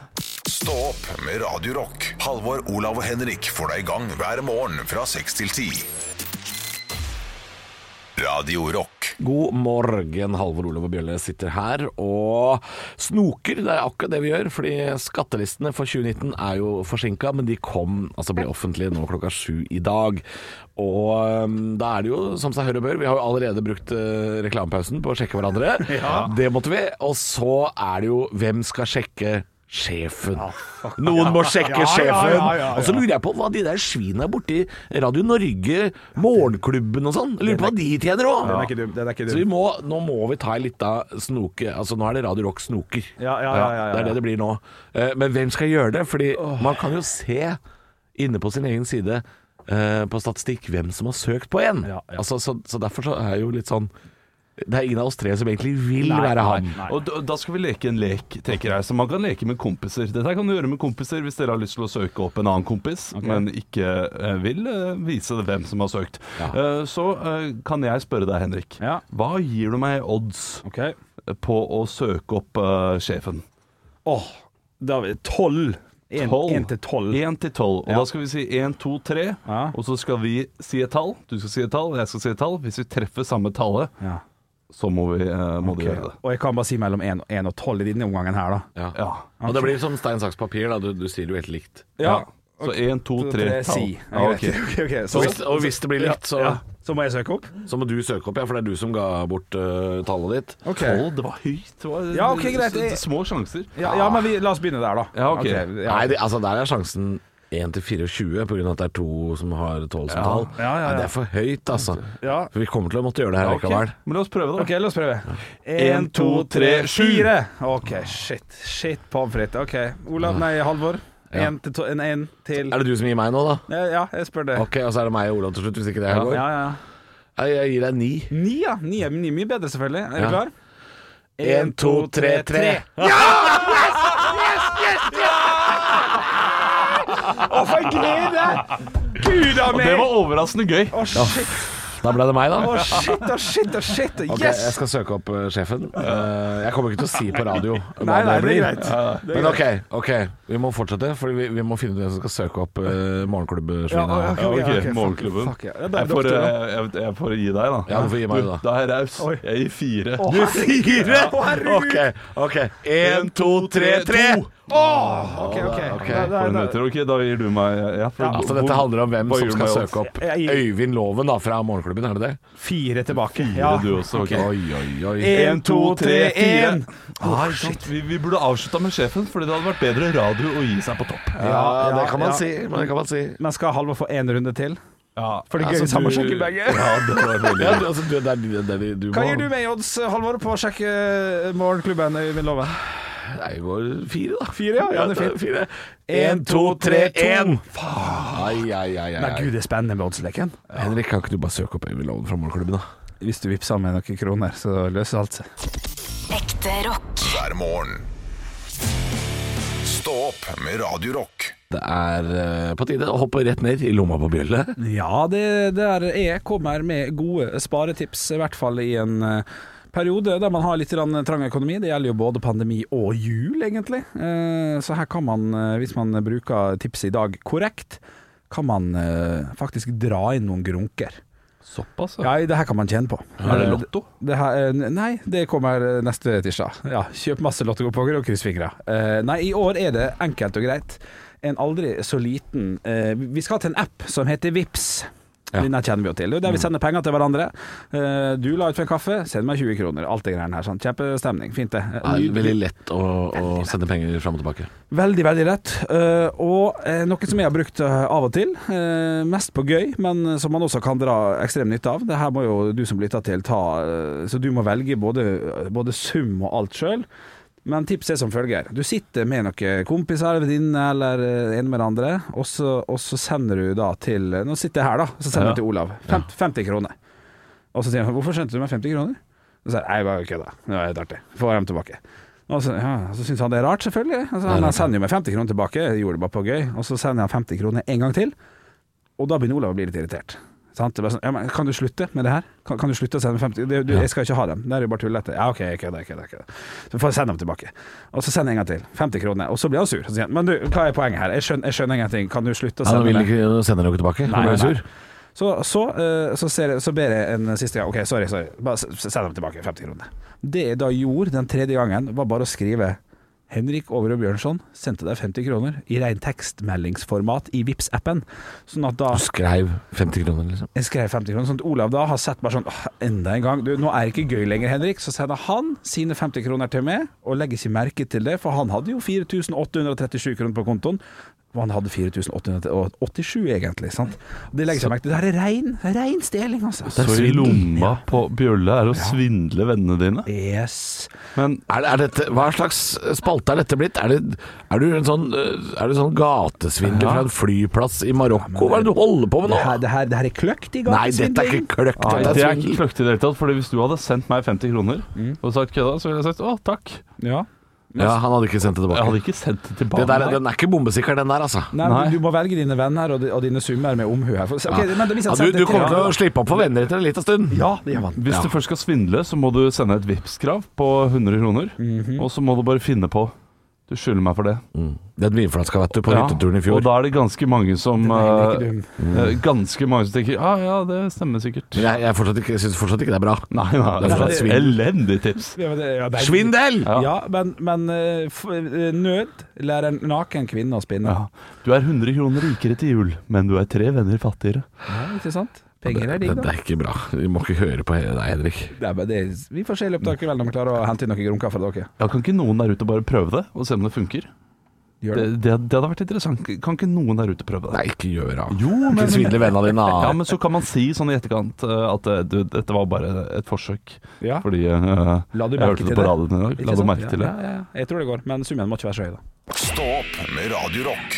S6: Stå opp med Radio Rock. Halvor, Olav og Henrik får deg i gang hver morgen fra 6 til 10. Radio Rock.
S1: God morgen, Halvor Olav og Bjølle sitter her og snoker. Det er akkurat det vi gjør, fordi skattelistene for 2019 er jo forsinka, men de kom, altså ble offentlige nå klokka sju i dag. Og øhm, da er det jo som seg hør og bør, vi har jo allerede brukt øh, reklamepausen på å sjekke hverandre. Det måtte vi. Og så er det jo hvem skal sjekke sjefen? Noen må sjekke
S2: Ja, ja,
S1: sjefen.
S2: ja, ja, ja.
S1: Og så lurer jeg på hva de der svina borti Radio Norge, Morgenklubben og sånn, lurer på hva de tjener òg.
S2: Den er ikke dum. Den er ikke
S1: Så vi
S2: dum.
S1: må, nå må vi ta en liten snoke. Altså, nå er det Radio Rock snoker.
S2: Ja, ja, ja, ja, ja.
S1: Det er det det blir nå. Eh, Men hvem skal gjøre det? Fordi man kan jo se inne på sin egen side eh, på statistikk hvem som har søkt på en.
S2: Ja, ja.
S1: Altså, så, så derfor så er jo litt sånn Det er ingen av oss tre som egentlig vil
S2: Nei,
S1: være
S2: nei,
S1: han.
S2: nei.
S3: Og da- da skal vi leke en lek, tenker jeg, som man kan leke med kompiser. Dette her kan du gjøre med kompiser hvis dere har lyst til å søke opp en annen kompis, men ikke eh, vil eh, vise hvem som har søkt. Eh, så eh, kan jeg spørre deg, Henrik.
S2: Ja.
S3: Hva gir du meg i odds
S2: Ok.
S3: på å søke opp eh, sjefen?
S2: Åh, da er vi tolv. En-
S3: Tolv.
S2: en til tolv.
S3: En til tolv. Og
S2: Ja.
S3: da skal vi si én, to, tre.
S2: Ja.
S3: Og så skal vi si et tall. Du skal si et tall, jeg skal si et tall. Hvis vi treffer samme tallet,
S2: Ja.
S3: så må vi eh, må du
S2: Ok,
S3: gjøre det.
S2: Og jeg kan bare si mellom 1 og, 1 og 12 i denne omgangen her, da.
S1: Ja.
S3: Ja.
S1: Og det blir som stein, saks, papir. Da. Du, du sier det jo helt likt.
S3: ja. Så én, to,
S2: Så
S3: tre, Ah,
S2: tre,
S3: tall.
S2: si. Ja,
S3: Ja,
S2: greit. Ok, ok,
S1: Og
S2: så-
S1: hvis, og hvis det blir likt, så,
S2: Ja, så må jeg søke opp?
S1: så må du søke opp, ja, for det er du som ga bort eh, tallet ditt.
S2: Ok.
S3: Tolv, det var høyt. Det var
S2: Ja, ok, greit. Jeg-
S3: Små sjanser.
S2: Ja, ja men vi, la oss begynne der, da.
S3: Ja, ok.
S2: ja.
S1: Nei, det, altså der er sjansen 1 til 24 pga. at det er to som har 12 som tall.
S2: Ja, ja, ja.
S1: Nei, det er for høyt, altså.
S2: Ja.
S1: For vi kommer til å måtte gjøre det her
S3: Ja, ok.
S1: likevel.
S3: Men la oss prøve, da.
S2: Ok, la oss prøve.
S3: En, to, tre, sju.
S2: Fire. Ok, shit. Shit pommes frites. Ok, Olav, nei, Halvor.
S1: Ja.
S2: En til to, en, en til
S1: Er det du som gir meg nå, da?
S2: Ja, Ja, jeg spør det.
S1: Ok, Og så er det meg og Olav til slutt, hvis ikke det her
S2: Ja,
S1: går.
S2: ja, ja.
S1: Nei, Jeg gir deg 9.
S2: Ni, ja. Ni er ni er mye bedre, selvfølgelig. Er du
S1: Ja.
S2: klar?
S1: En, to, tre, tre.
S2: Å, for en glede! Gud a
S3: Og det
S2: meg!
S3: var overraskende gøy.
S2: Å, shit,
S1: Da ble det meg, da.
S2: å, shit, å, shit, å, shit.
S1: Ok, Jeg
S2: Yes!
S1: skal søke opp eh, sjefen. Eh, jeg kommer ikke til å si på radio hva
S2: Nei, nei,
S1: det
S2: det
S1: blir.
S2: er greit. Det er
S1: Men ok, ok, vi må fortsette, for vi, vi må finne ut hvem som skal søke opp uh,
S2: Ja,
S1: morgenklubbsvinet.
S2: ok, ok,
S3: Ja, ok,
S2: ok,
S3: Morgenklubben.
S2: Fuck, fuck, ja. Ja, da er
S3: Jeg får,
S2: doktor, da.
S3: eh, jeg, jeg får gi deg, da.
S1: Ja, du får gi meg det, da.
S3: Da er jeg raus.
S2: Oi.
S3: Jeg gir fire.
S2: Å, herregud.
S1: Fire!
S2: Å, herregud.
S1: Ok, ok. En, to, tre, tre!
S3: To.
S2: Ok, ok.
S1: ok.
S2: Da- da-
S3: For en
S2: da-
S3: etter, ok, da gir du meg ja, for,
S1: Altså, dette handler om hvem
S3: hva
S1: som
S3: gjør du
S1: skal
S3: med
S1: søke opp
S2: Jeg- jeg-
S1: Øyvind Loven da, fra morgenklubben, er det det?
S2: Fire tilbake.
S3: Ja.
S2: Ja.
S3: Du også, ok.
S1: Oi, oi, oi.
S2: En, to, tre, en.
S3: Ah, ikke sant? vi, vi burde avslutta med sjefen, Fordi det hadde vært bedre radio å gi seg på topp.
S1: Ja,
S2: ja,
S1: det kan man
S2: ja.
S1: si. Men det kan man si.
S2: Men skal Halvor få én runde til?
S3: Ja,
S2: For det gøy
S3: altså,
S2: samme
S3: du-
S2: sjekke begge.
S3: Ja, det var veldig
S1: Ja, du, altså, du, det er, det er, du
S2: Hva
S1: må-
S2: gir du med i odds, Halvor, på å sjekke eh, morgenklubben Øyvind Loven?
S1: Nei, Jeg går fire, da.
S2: Fire, ja. ja det er fint.
S1: Fire. En, to, tre, en! Ai, ai, ai, ai,
S2: Nei,
S1: ai.
S2: gud, det er spennende med oddsleken.
S1: Henrik, kan ikke du bare søke opp Øyvind Loven fra morgenklubben, da?
S2: Hvis du vippser med noen kroner, så løser alt seg.
S5: Ekte rock.
S6: hver morgen. Stå opp med Radio Rock.
S1: Det er eh, på tide å hoppe rett ned i lomma på bjøllet.
S2: Ja, det der jeg kommer med gode sparetips, i hvert fall i en eh, periode der man har litt grann trang økonomi. Det gjelder jo både pandemi og jul, egentlig. Eh, Så her kan man, eh, hvis man bruker tipset i dag korrekt, kan man eh, faktisk dra inn noen grunker.
S3: Såpass, ja.
S2: Ja, det her kan man tjene på.
S3: altså.
S2: Eh,
S3: Er det lotto?
S2: Det her, eh, nei, det kommer neste tirsdag. Ja, kjøp masse lottokuponger og kryss fingra. Eh, nei, i år er det enkelt og greit. En aldri så liten eh, Vi skal til en app som heter Vips.
S1: Ja.
S2: Denne kjenner vi jo til. Det er
S3: Mm.
S2: der vi sender penger til hverandre. Eh, du la ut for en kaffe, send meg 20 kroner. Alt det greiene her. Sånn. Kjempestemning. Fint, det.
S1: Det er veldig lett å, å sende penger fram og tilbake.
S2: Veldig, veldig rett. Eh, og eh, noe som jeg har brukt eh, av og til, eh, mest på gøy, men som man også kan dra ekstrem nytte av. Det her må jo du som lytter til ta, eh, så du må velge både, både sum og alt sjøl. Men tipset er som følger. Du sitter med noen kompiser eller venninne eller eh, en med den andre, og så, og så sender du da til Nå sitter jeg her, da. Så sender
S3: Ja.
S2: du til Olav. Fem, 50 kroner. Og så sier han 'Hvorfor sendte du meg 50 kroner?' Og så sier jeg 'Nei, jeg bare kødda. Det var helt artig. Få dem tilbake'. Og så, ja, så syns han det er rart, selvfølgelig. Altså, han sender jo meg 50 kroner tilbake, jeg gjorde det bare på gøy. Og så sender han 50 kroner en gang til, og da begynner Olav å bli litt irritert. Sant? Det er bare sånn, ja, men kan du slutte med det her? Kan, kan du slutte å sende meg 50 det, du, Jeg skal ikke ha dem, det er jo bare tullete. Ja, ok, jeg kødder, jeg kødder, jeg kødder. Så får jeg sende dem tilbake. Og så sender jeg en gang til, 50 kroner. Og så blir han sur. Så sier han, men du, hva er poenget her? Jeg skjønner, jeg skjønner ingenting, kan du slutte å
S1: Han
S2: sende
S1: vil
S2: meg
S1: ikke sende noe tilbake.
S2: Nei,
S1: Han ble
S2: nei.
S1: sur.
S2: så, så, eh, så, ser jeg, så ber jeg en siste gang Ok, sorry, sorry Bare s- s- send dem tilbake 50 kroner Det jeg da gjorde den tredje gangen Var bare å skrive Henrik Overø Bjørnsson sendte deg 50 kroner I ren tekstmeldingsformat i Vips-appen Sånn at da
S1: Du skreiv 50 kroner, liksom.
S2: jeg skrev 50 kroner, sånn at Olav da har sett bare sånn «Åh, Enda en gang. Du, nå er det ikke gøy lenger, Henrik. Så sender han sine 50 kroner til meg, og legger ikke merke til det, for han hadde jo 4837 kroner på kontoen. Og han hadde 4887, egentlig. sant? Og Det legger ikke merke til. Det her er rein, rein stjeling, altså.
S3: Så i lomma på Bjølle er å svindle vennene dine.
S2: Yes.
S3: Men
S1: Er, det- er dette, hva slags spalte er dette blitt? Er, det, er du en sånn, eh, er du sånn gatesvindler fra en flyplass i Marokko? Hva er det du holder på med
S2: Det
S1: nå?
S2: her, det her, det her er kløkt i gang.
S1: Nei, dette er ikke kløkt.
S3: Nei,
S1: Dette
S3: det
S1: er
S3: er ikke
S1: svindel. Mm.
S3: kløktig i det hele tatt. Fordi hvis du hadde sendt meg 50 kroner og sagt kødda, så ville jeg sagt å, takk.
S2: Ja.
S1: Ja, han hadde ikke sendt det
S3: Jeg
S1: tilbake.
S3: hadde ikke sendt det tilbake.
S1: Det der, den er ikke bombesikker, den der, altså.
S2: Nei,
S3: Nei.
S2: men Du må velge dine venner og, di- og dine summer med omhu her. For, ok, men hvis
S1: Ja,
S2: jeg
S1: du,
S2: sender
S1: du
S2: til-
S1: kommer til å Eh, slippe opp for venner etter en liten stund.
S2: Ja, det gjør man.
S3: Hvis du
S1: Mhm.
S3: først skal svindle, så må du sende et Vipps-krav på 100 kroner. Og så må du bare finne på Du skylder meg for det.
S1: Den vinflaska, vet du, på hytteturen i
S3: Og
S1: fjor.
S3: da er det ganske mange som
S2: er egentlig
S3: eh, eh, Ganske mange som tenker Ja, ah, ja, det stemmer sikkert.
S1: Men Jeg, jeg, fortsatt ikke- jeg syns fortsatt ikke det er bra.
S3: Nei, nei,
S1: Det er fra et svin.
S3: Elendig tips.
S2: Ja, men det- ja, det er-
S1: Svindel!
S2: Ja, men, men eh, f- eh, nød lærer en naken kvinne å spinne.
S3: Ja. Du er 100 kroner rikere til jul, men du er tre venner fattigere.
S2: Ja, ikke sant?
S1: Det,
S2: Penger er digg,
S1: det,
S2: da.
S1: er ikke bra. Vi må ikke høre på deg, Henrik.
S2: Det er bare det. Vi får se i løpet av kvelden om vi klarer å hente inn noen grunker fra dere.
S3: Ja, Kan ikke noen der ute bare prøve det, og se om det funker?
S2: Gjør det.
S3: Det, det, det hadde vært interessant. Kan ikke noen der ute prøve det?
S1: Nei, ikke gjør av.
S3: Jo, men
S1: Ikke svindle vennene dine. da.
S3: Ja, men så kan man si sånn i etterkant eh, at eh, du, dette var bare et forsøk.
S2: Ja.
S3: Fordi eh,
S2: La du
S3: jeg
S2: merke
S3: hørte
S2: til
S3: det på
S2: det?
S3: radioen i dag.
S2: Ikke
S3: La du
S2: sant?
S3: merke til det?
S2: Ja, ja, ja. Jeg tror det går, men summen må ikke være så høy, da.
S6: Stå opp med Radio Rock.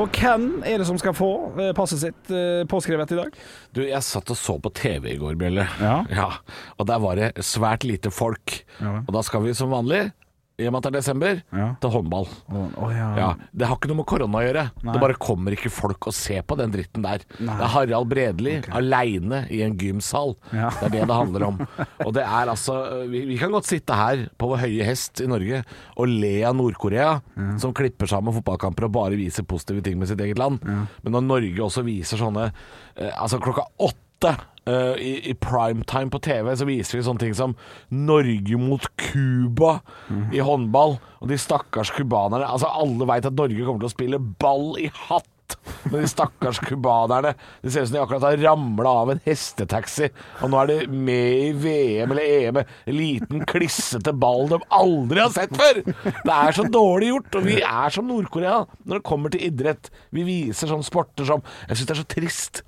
S2: Og hvem er det som skal få eh, passet sitt eh, påskrevet i dag?
S1: Du, jeg satt og så på TV i går, Bjelle.
S2: Ja.
S1: Og der var det svært lite folk.
S2: Ja vel.
S1: og da skal vi som vanlig, i og med at det er desember,
S2: Ja.
S1: til håndball. Ja, Det har ikke noe med korona å gjøre.
S2: Nei.
S1: Det bare kommer ikke folk og ser på den dritten der.
S2: Nei.
S1: Det er Harald Bredli aleine i en gymsal.
S2: Ja.
S1: Det er det det handler om. Og det er altså vi, vi kan godt sitte her på vår høye hest i Norge og le av Nord-Korea, som klipper sammen fotballkamper og bare viser positive ting med sitt eget land. Men når Norge også viser sånne eh, Altså klokka åtte eh, i, I primetime på TV så viser vi sånne ting som Norge mot Cuba i håndball, og de stakkars cubanerne Altså, alle veit at Norge kommer til å spille ball i hatt! Men de stakkars cubanerne Det ser ut som de akkurat har ramla av en hestetaxi. Og nå er de med i VM eller EM. En liten, klissete ball de aldri har sett før! Det er så dårlig gjort. Og vi er som Nord-Korea når det kommer til idrett. Vi viser sånne sporter som Jeg syns det er så trist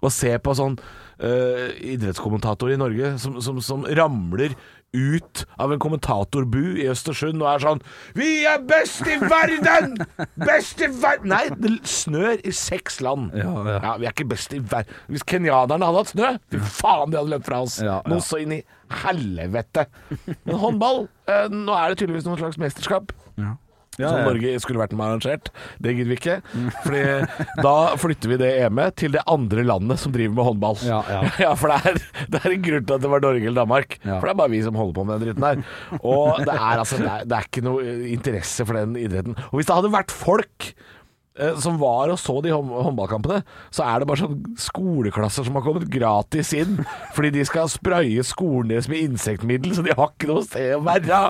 S1: å se på sånn eh, idrettskommentator i Norge som, som, som ramler ut av en kommentatorbu i Østersund og er sånn 'Vi er best i verden! Best i verden!' Nei, det snør i seks land.
S2: Ja, ja.
S1: vi er ikke best i verden. Hvis kenyanerne hadde hatt snø, fy faen, de hadde løpt fra oss.
S2: Ja, ja.
S1: Noe så inn i helvete. Men håndball, eh, nå er det tydeligvis noe slags mesterskap
S2: Ja, Mm.
S1: som
S2: ja.
S1: Norge skulle vært med arrangert. Det gidder vi ikke. Fordi da flytter vi det EM-et til det andre landet som driver med håndball.
S2: Ja, ja.
S1: for det er, det er en grunn til at det var Norge eller Danmark.
S2: Ja.
S1: For det er bare vi som holder på med den dritten her. Og det er altså det er, det er ikke noe eh, interesse for den idretten. Og hvis det hadde vært folk eh, som var og så de hånd- håndballkampene, så er det bare sånn skoleklasser som har kommet gratis inn, fordi de skal spraye skolen deres med insektmiddel, så de har ikke noe sted å være.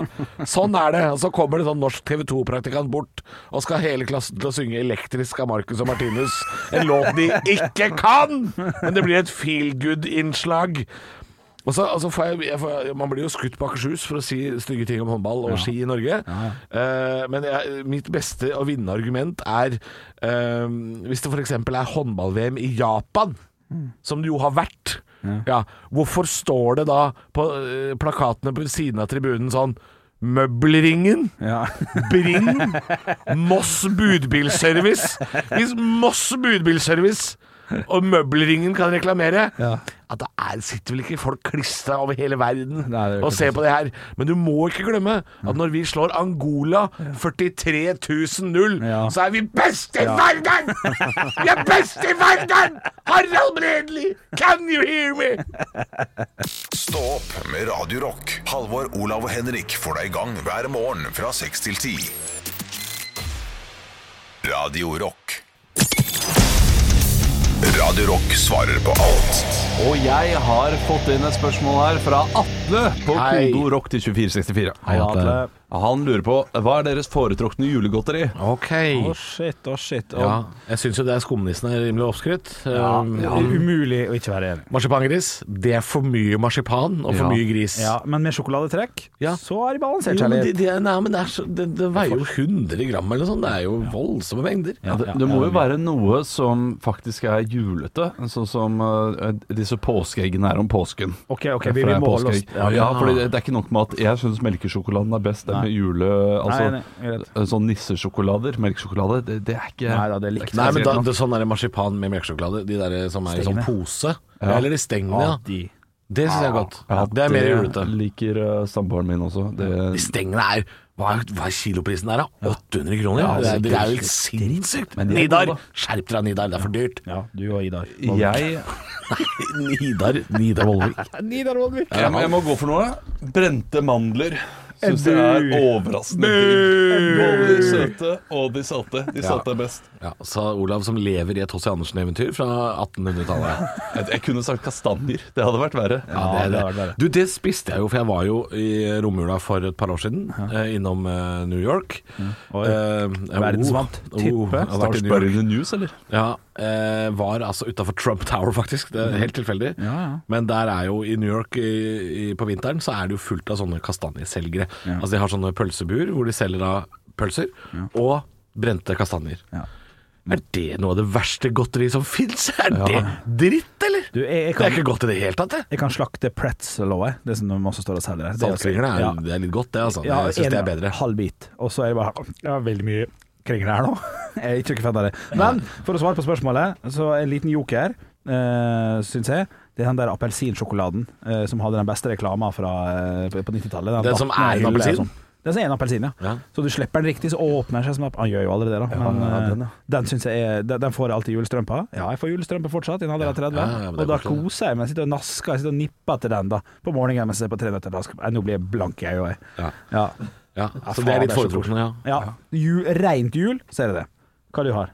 S1: Sånn er det. Og så kommer det sånn norsk TV 2-praktikant bort og skal hele klassen til å synge elektrisk av Marcus og Martinus. En låt de ikke kan! Men det blir et feel good-innslag. Og så, og så får jeg, jeg får, man blir jo skutt på Akershus for å si stygge ting om håndball og ski i Norge. Eh, men jeg, mitt beste og vinnende argument er eh, hvis det f.eks. er håndball-VM i Japan, som det jo har vært. Ja. hvorfor står det da på eh, plakatene på siden av tribunen sånn Møbelringen?
S2: Ja.
S1: Bring Moss budbilservice. Hvis Moss budbilservice og møbelringen kan reklamere
S2: Ja.
S1: At det er, sitter vel ikke folk klistra over hele verden
S2: Nei, det er jo
S1: og
S2: ikke
S1: ser på det her. Men du må ikke glemme at når vi slår Angola 43 000-0,
S2: Ja.
S1: så er vi best i verden! Vi er best i verden! Harald Bredli, can you hear me?
S6: Stå opp med Radio Rock. Halvor, Olav og Henrik får deg i gang hver morgen fra 6 til 10. Radio Rock. Radio Rock svarer på alt.
S3: Og jeg har fått inn et spørsmål her fra Atle på
S1: Hei.
S3: Kodo Rock til 2464.
S2: Hei, Atle.
S3: Han lurer på hva er deres foretrukne julegodteri?
S1: Ok.
S2: Å, shit, å, shit. Og,
S1: jeg syns jo det er skumnissen er rimelig oppskrytt. Um,
S2: Det er umulig å ikke være enig.
S1: Marsipangris, det er for mye marsipan og for
S3: Ja.
S1: mye gris.
S2: Ja, men med sjokoladetrekk,
S1: Ja.
S2: så er de balansert,
S1: Jo, men det,
S2: kjærlighet.
S1: det, nei, men det, er så, det, det veier jo 100 gram eller noe sånt. Det er jo voldsomme mengder.
S2: Ja,
S3: Det,
S2: ja,
S3: det
S2: ja,
S3: må jo være noe som faktisk er julete, sånn som eh, disse påskeeggene er om påsken.
S2: Ok, ok,
S3: For
S2: vi,
S3: det
S2: vi
S3: er
S2: må holde oss
S3: påskeegg. Ja, fordi det, det er ikke nok med at jeg syns melkesjokoladen er best. Det er med jule... Altså,
S2: Nei, nei, greit.
S3: Sånn nissesjokolader, melkesjokolade, det, det er ikke
S2: Nei da, det er likt.
S3: ikke
S1: Nei, men
S3: spesielt
S1: da,
S3: nok.
S1: det, Sånn er det marsipan med melkesjokolade. De der som er i sånn
S2: Stengene.
S1: pose. Eller de stengene,
S2: Ja,
S1: ja.
S2: de.
S1: Det syns jeg er godt.
S3: Ja,
S1: det er mer julete.
S3: liker eh, samboeren min også. Det,
S1: Hvis stengene er hva, er- hva er kiloprisen der, da? 800 kroner?
S3: Ja,
S1: det, er, det er jo
S3: sikkert.
S1: helt sinnssykt!
S3: de er
S1: Nidar!
S3: gode, da.
S1: Skjerp dere, Nidar. Det er for dyrt.
S2: Ja, du og Idar.
S3: jeg,
S1: Nidar Nidar Vollvik.
S2: Nidar Vollvik.
S3: jeg, må- jeg må gå for noe. Brente mandler. Syns jeg er overraskende digg. Både de søte og de salte. De salte er best.
S1: Ja, sa Olav som lever i et H.C. Andersen-eventyr fra 1800-tallet.
S3: Jeg, jeg kunne sagt kastanjer. Det hadde vært verre.
S1: Ja, det
S2: det
S1: er
S2: er
S1: det. Du, det spiste jeg jo, for jeg var jo i romjula for et par år siden, eh, innom eh, New York.
S2: Mm. Oi.
S1: Eh,
S2: Verdensvant,
S1: oh,
S2: tippe.
S1: oh, jeg har vært i New York.
S3: Starsberg in the news, eller?
S1: Ja, eh, var altså utafor Trump Tower, faktisk. Det er helt tilfeldig.
S2: ja.
S1: Men der er jo i New York i, i, på vinteren så er det jo fullt av sånne kastanjeselgere. Altså De har sånne pølsebuer hvor de selger da pølser og brente kastanjer.
S2: Ja.
S1: Er det noe av det verste godteriet som fins? Er det dritt, eller?
S2: Du, jeg, jeg,
S1: det er
S2: kan,
S1: ikke godt i det hele tatt, det.
S2: jeg kan slakte pretzel òg, jeg. Det som de også står og selger her. Det er-
S1: Saltkringlene er,
S2: Ja.
S1: det er litt godt, det. altså
S2: Ja,
S1: Jeg syns det
S2: en
S1: er bedre.
S2: Halv bit. Og så er det bare Det er veldig mye kringler her nå. Jeg er ikke noe fan av det. Men for å svare på spørsmålet, så en liten joker, uh, syns jeg. Det er den der appelsinsjokoladen eh, som hadde den beste reklama fra, eh, på 90-tallet.
S1: Den som
S2: dattene
S1: er en
S2: hyller og
S1: appelsin?
S2: sånn. Den som er en appelsin, ja.
S1: Ja.
S2: Så du slipper den riktig, så åpner den seg som en app- Han gjør jo aldri det, da. Men eh, den, synes jeg er Den, den får jeg alltid i julestrømpa. Ja, jeg får julestrømpe fortsatt, i en alder av 30.
S1: Ja, ja, ja, men det er
S2: og da
S1: koselig, det.
S2: koser jeg meg. Jeg Sitter og nasker, jeg sitter og nipper til den da på morgenen mens jeg er på Tre nøtter til Askepott. Nei, Nå blir jeg blank, jeg òg.
S1: Ja.
S2: Ja.
S1: Ja,
S2: Ja,
S1: så det
S2: faen,
S1: er
S2: det
S1: litt
S2: er så
S1: foretrukne, ja.
S2: Ja. Jul, rent jul, så er det det. Hva du har?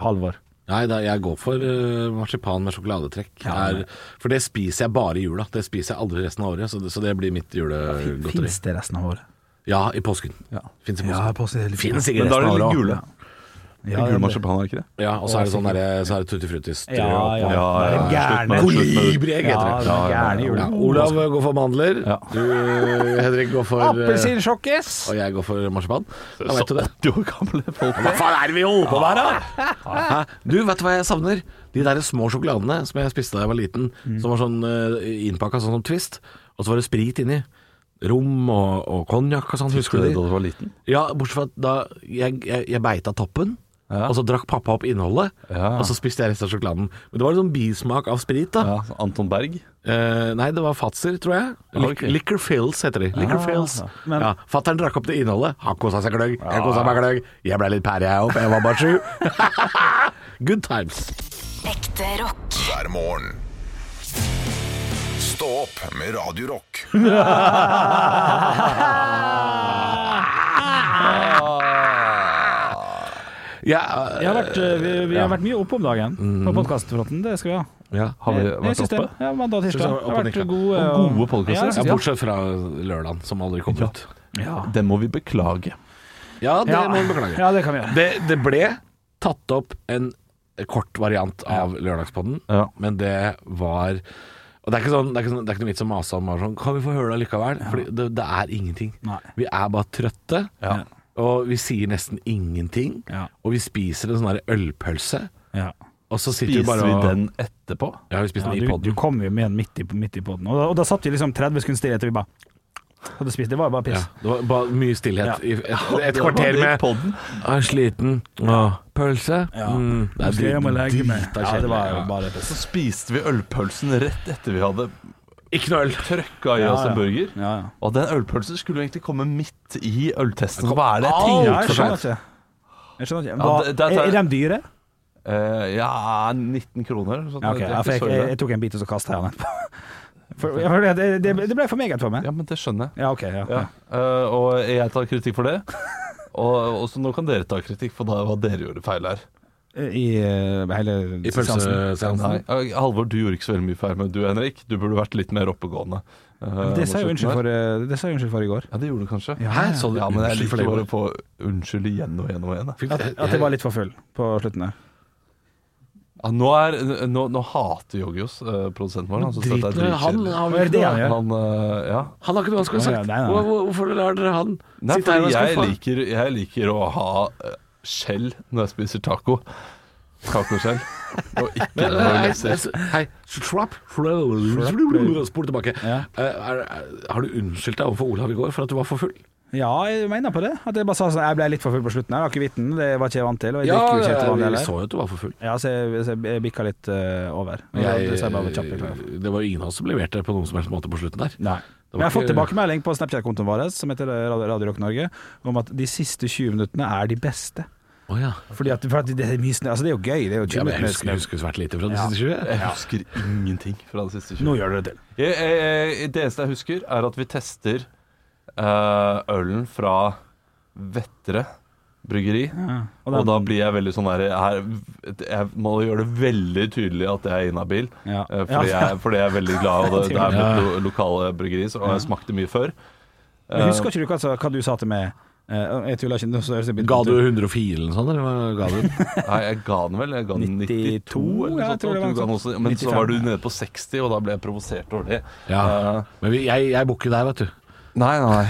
S2: Halvor.
S1: Nei, da, jeg går for eh, marsipan med sjokoladetrekk. er, for det spiser jeg bare i jula. Det spiser jeg aldri resten av året, så det, så det blir mitt julegodteri.
S2: Fins det resten av året?
S1: Ja, i påsken.
S2: Ja.
S1: Fins i påsken. Finnes
S3: Men
S1: sikkert
S3: da er
S1: resten av
S3: det
S1: året.
S3: litt
S1: også.
S3: gule.
S2: Ja,
S3: gul
S2: det-
S3: marsipan, er det ikke det?
S1: Ja, og så er det sånn derre Så er det tutti frutti strø
S2: Ja, ja.
S3: Ja, ja, ja.
S2: Gærne.
S3: Slutt med- slutt med-
S1: Kolibri-egg
S2: Ja,
S1: heter det.
S2: gærne jul.
S1: Ja, Olav går for mandler.
S3: Ja.
S1: Du, Henrik, går for eh,
S2: Appelsinsjokkis!
S1: Og jeg går for marsipan. Da vet du det.
S3: 80 år gamle folk.
S1: Hva faen er det vi holder på med her, da? Hæ? Du, vet du hva jeg savner? De der små sjokoladene som jeg spiste da jeg var liten,
S3: Mm.
S1: som var sånn uh, innpakka sånn som Twist, og så var det sprit inni. Rom og, og konjakk og sånn, husker du
S3: da
S1: det?
S3: du var liten?
S1: Ja, bortsett fra at da jeg, jeg, jeg beita toppen,
S3: Ja.
S1: og så drakk pappa opp innholdet,
S3: Ja.
S1: og så spiste jeg resten av sjokoladen. Men det var en sånn bismak av sprit, da.
S3: Ja, Anton Berg.
S1: Eh, nei, det var Fatser, tror jeg. Lick-
S3: Ok.
S1: Liquor Fills heter de. Liquor Fills.
S2: Men-
S1: ja, Fattern drakk opp det innholdet. Han kosa seg gløgg. Jeg kosa meg gløgg. Jeg ble litt pære, jeg opp. Jeg var bare sju. Good times.
S5: Ekte rock.
S6: hver morgen. Stå opp med Radio Rock.
S1: Ja,
S2: Jeg har vært, eh, vi, vi har vært mye oppe om dagen
S1: Mm.
S2: på podkastfronten. Det skal vi ha.
S1: ja.
S3: Har vi
S2: Jeg- jeg
S3: vært
S2: synes det.
S3: oppe?
S2: Ja, mandag og
S1: Synes
S2: tirsdag.
S1: jeg var
S2: Det
S1: oppe
S2: har
S1: og
S2: vært
S1: nikket.
S2: gode, eh,
S3: Og gode podcaster.
S2: Ja, jeg
S1: ja,
S2: synes det.
S1: bortsett fra lørdagen, som aldri kom ut.
S2: ja.
S3: Den må vi beklage.
S1: Ja, det
S2: Ja.
S1: må vi beklage.
S2: ja, det kan vi gjøre.
S1: Det, det ble tatt opp en kort variant av Lørdagspodden,
S3: Ja.
S1: men det var og det er, ikke sånn, det, er ikke sånn, det er ikke noe vits å mase om bare sånn, Kan vi få høre det likevel? Fordi det, det er ingenting.
S2: Nei.
S1: Vi er bare trøtte,
S2: Ja.
S1: og vi sier nesten ingenting.
S2: Ja.
S1: Og vi spiser en sånn der ølpølse,
S2: Ja.
S1: og så sitter
S3: Spiser
S1: vi bare
S3: vi
S1: og
S3: den etterpå?
S1: Ja, vi spiser
S2: Ja,
S1: den i
S2: du, du
S1: podden.
S2: kom jo med den midt i, midt i podden, og da, og da satt vi liksom 30 sekunder stillhet, og vi bare hadde spist. Det var bare
S1: Ja,
S2: piss.
S1: det var bare mye stillhet. I et, et
S3: Det var
S1: kvarter
S3: det
S1: med
S3: podden.
S1: Jeg er sliten. Åh, pølse? Mm, det
S2: Skal hjem og
S1: er
S2: legge meg.
S1: drita
S2: Ja, det var jo
S1: kjedelig.
S2: bare piss.
S3: Så spiste vi ølpølsen rett etter vi hadde
S1: Ikke noe øl.
S3: trøkka i
S2: Ja,
S3: oss
S2: ja.
S3: en burger.
S2: Ja, ja.
S3: Og den ølpølsen skulle jo egentlig komme midt i øltesten. Hva er det jeg tenker?
S2: Ja, jeg
S1: for
S2: skjønner
S1: sent.
S2: ikke. Jeg skjønner ikke.
S3: Ja,
S2: Hva,
S3: det- det er-
S2: er, er de dyre?
S3: Eh, ja, 19 kroner. sånn.
S2: Ja, ok.
S3: Det er
S2: ja, for
S3: ikke så
S2: jeg,
S3: ille.
S2: jeg, jeg tok en bit og så kastet jeg den etterpå. For, ja, for det, det, det ble for meget for meg.
S3: Ja, men det skjønner jeg.
S2: Ja, ok. Ja.
S3: Ja. Eh, og jeg tar kritikk for det. Og også nå kan dere ta kritikk for da, hva dere gjorde feil her.
S2: I eh, hele
S1: I
S2: seansen.
S3: Nei,
S1: pølseseansen.
S3: eh, Halvor, du gjorde ikke så veldig mye feil, men du Henrik, du burde vært litt mer oppegående. eh,
S2: Det sa jeg jo
S3: mot slutten
S2: unnskyld
S3: her.
S2: for, eh, det sa jeg unnskyld for i går.
S3: Ja, det gjorde du kanskje.
S2: Ja,
S1: Hæ, så du
S3: Ja, men jeg
S1: unnskyld for
S3: liker
S1: det?
S3: bare å få unnskyld igjen og igjen og igjen. jeg.
S1: Fikk-
S2: At, at jeg var litt for full på slutten der.
S3: Ja, nå, er, nå, nå hater Joggi oss, eh, produsenten vår. Han synes
S1: Drit
S3: dette
S1: i det.
S3: er
S1: Han,
S3: dritkjedelig.
S1: han,
S2: Hva er det han gjør?
S3: Han, eh, ja.
S1: han har ikke noe han skulle
S2: Å, ja,
S1: sagt.
S2: nei, nei.
S1: Hvor- hvor- Hvorfor lar dere han
S3: Nei,
S1: sitte her
S3: fordi
S1: og
S3: jeg
S1: skuffe?
S3: liker, jeg liker å ha eh, skjell når jeg spiser taco. Tacoskjell. Og ikke
S1: Hei,
S3: mayonnaise.
S1: hei. Slap. Slap. Spol tilbake.
S2: Ja.
S1: Eh, er- er- Har du unnskyldt deg overfor Olav i går for at du var for full?
S2: Ja, jeg mener på det. At jeg bare sa sånn Jeg ble litt for full på slutten her. Akevitten det var ikke jeg vant til. Og jeg
S1: Ja,
S2: drikker jo ikke helt vanlig
S1: vi så
S2: heller.
S1: jo at du var for full.
S2: Ja, så jeg, så jeg bikka litt eh, over. Jeg, så jeg bare kjapt beklager.
S1: det var jo ingen av oss som leverte på noen som helst måte på slutten der.
S2: Nei.
S1: var
S2: Men jeg har fått
S1: ikke-
S2: tilbakemelding på Snapchat-kontoen vår, som heter Radio Radio Rock Norge, om at de siste 20 minuttene er de beste.
S1: Å ja.
S2: Fordi at, for at det er mye snø. Altså, det er jo gøy. Det er jo 20
S1: ja men jeg
S2: minutter
S1: husker,
S2: snø.
S1: jeg husker svært lite fra de
S2: Ja.
S1: siste 20.
S3: Jeg husker ingenting fra det siste
S2: Nå
S3: 20
S2: gjør du det til.
S3: jeg, jeg, jeg, Det eneste jeg husker, er at vi tester eh, ølen fra Vettre bryggeri.
S2: Og den-
S3: Og, da blir jeg veldig sånn der her, Jeg må gjøre det veldig tydelig at jeg er inhabil.
S2: Ja.
S3: eh, Fordi,
S2: Ja.
S3: jeg- fordi jeg er veldig glad, og det, det
S1: Ja.
S3: er mitt lo lokale bryggeri, så, og jeg smakte mye før.
S2: Men husker ikke du hva, altså, hva du sa til meg? Eh, Jeg tuller ikke. nå, så høres jeg-
S1: Ga du 104 eller noe sånt, eller hva ga du?
S3: Nei, jeg ga den vel. Jeg ga den 92,
S2: 92, ja,
S3: eller noe
S2: jeg tror
S3: sånt.
S2: det var sånn.
S3: og du ga den
S2: noe
S3: også,
S2: sånt.
S3: men så var du
S2: 95.
S3: nede på 60, og da ble jeg provosert over det.
S1: Ja.
S3: Eh,
S1: Men vi, jeg, jeg bor ikke der, vet du.
S3: nei, nei.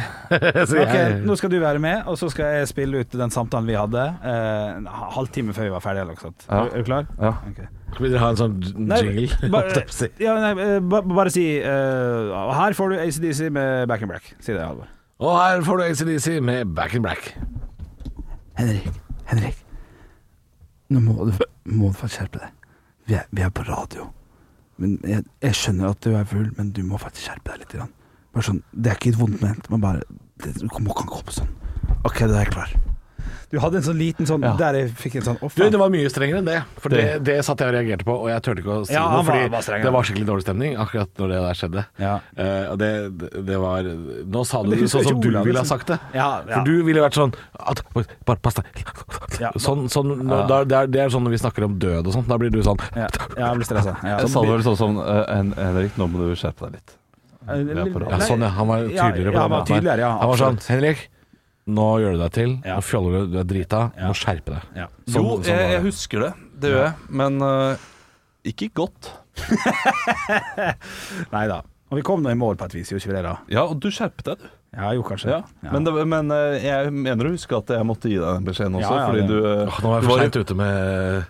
S1: Så
S2: Ok,
S1: jeg,
S2: Nå skal du være med, og så skal jeg spille ut den samtalen vi hadde eh, en halvtime før vi var ferdige. Eller, noe sånt.
S3: Ja.
S2: Er, er du klar?
S3: Ja.
S2: Ok.
S1: Skal vi ha en sånn
S2: Nei,
S1: jingle?
S2: bare, ja, nei, eh, ba, bare si eh, Her får du ACDC med Back in Black. Si det, Halvor.
S1: Og her får du ACDC med Back in Black.
S7: Henrik, Henrik. Nå må du, må du faktisk skjerpe deg. Vi er, vi er på radio. Men jeg, jeg skjønner at du er full, men du må faktisk skjerpe deg litt. Grann. Bare sånn, det er ikke vondt ment, men bare det, Du må ikke gå på sånn. OK, da er jeg klar.
S2: Du hadde en sånn liten sånn der jeg fikk en sånn off.
S1: Du, det var mye strengere enn det. For det, det satt jeg og reagerte på, og jeg turte ikke å si
S2: Ja,
S1: noe.
S2: han var-
S1: Fordi
S2: var streng,
S1: det
S2: ja.
S1: var skikkelig dårlig stemning akkurat når det der skjedde.
S2: Ja.
S1: Eh, og det, det- det var Nå sa du
S2: det
S1: det,
S2: husker
S1: sånn
S2: ikke
S1: som du
S2: Olav,
S1: ville ha
S2: liksom.
S1: sagt det.
S2: Ja, ja.
S1: For du ville vært sånn at, Bare pass deg.
S2: Ja.
S1: Sånn, sånn, nå- da- det, er, det er sånn når vi snakker om død og sånn. Da blir du sånn
S2: Ja, ja, jeg ble stressa. Ja.
S3: Jeg sa det vel sånn som eh, Hen- Henrik, nå må du skjerpe deg litt.
S1: Ja, sånn ja. Han var tydeligere på det.
S2: ja, han var tydeligere, ja,
S1: han var sånn
S2: absolutt.
S1: Henrik, nå gjør du deg til.
S2: Ja.
S1: Nå fjoller du, du er drita.
S2: Ja.
S1: Nå skjerpe deg.
S2: Ja.
S1: Sånn-
S3: Jo,
S1: sånn
S3: jeg,
S1: var
S3: jeg
S1: det.
S3: husker det. Det gjør jeg. Men eh, ikke godt.
S2: Nei da. Og vi kom nå i mål på et vis, gjorde ikke vi det da?
S3: Ja, og du skjerpet deg, du.
S2: Ja, jo, kanskje.
S3: Ja. Men, det, men eh, jeg mener å huske at jeg måtte gi deg den beskjeden også,
S2: Ja, ja, det-
S3: fordi du eh,
S1: Åh, nå var jeg for
S3: du i-
S1: seint ute med eh,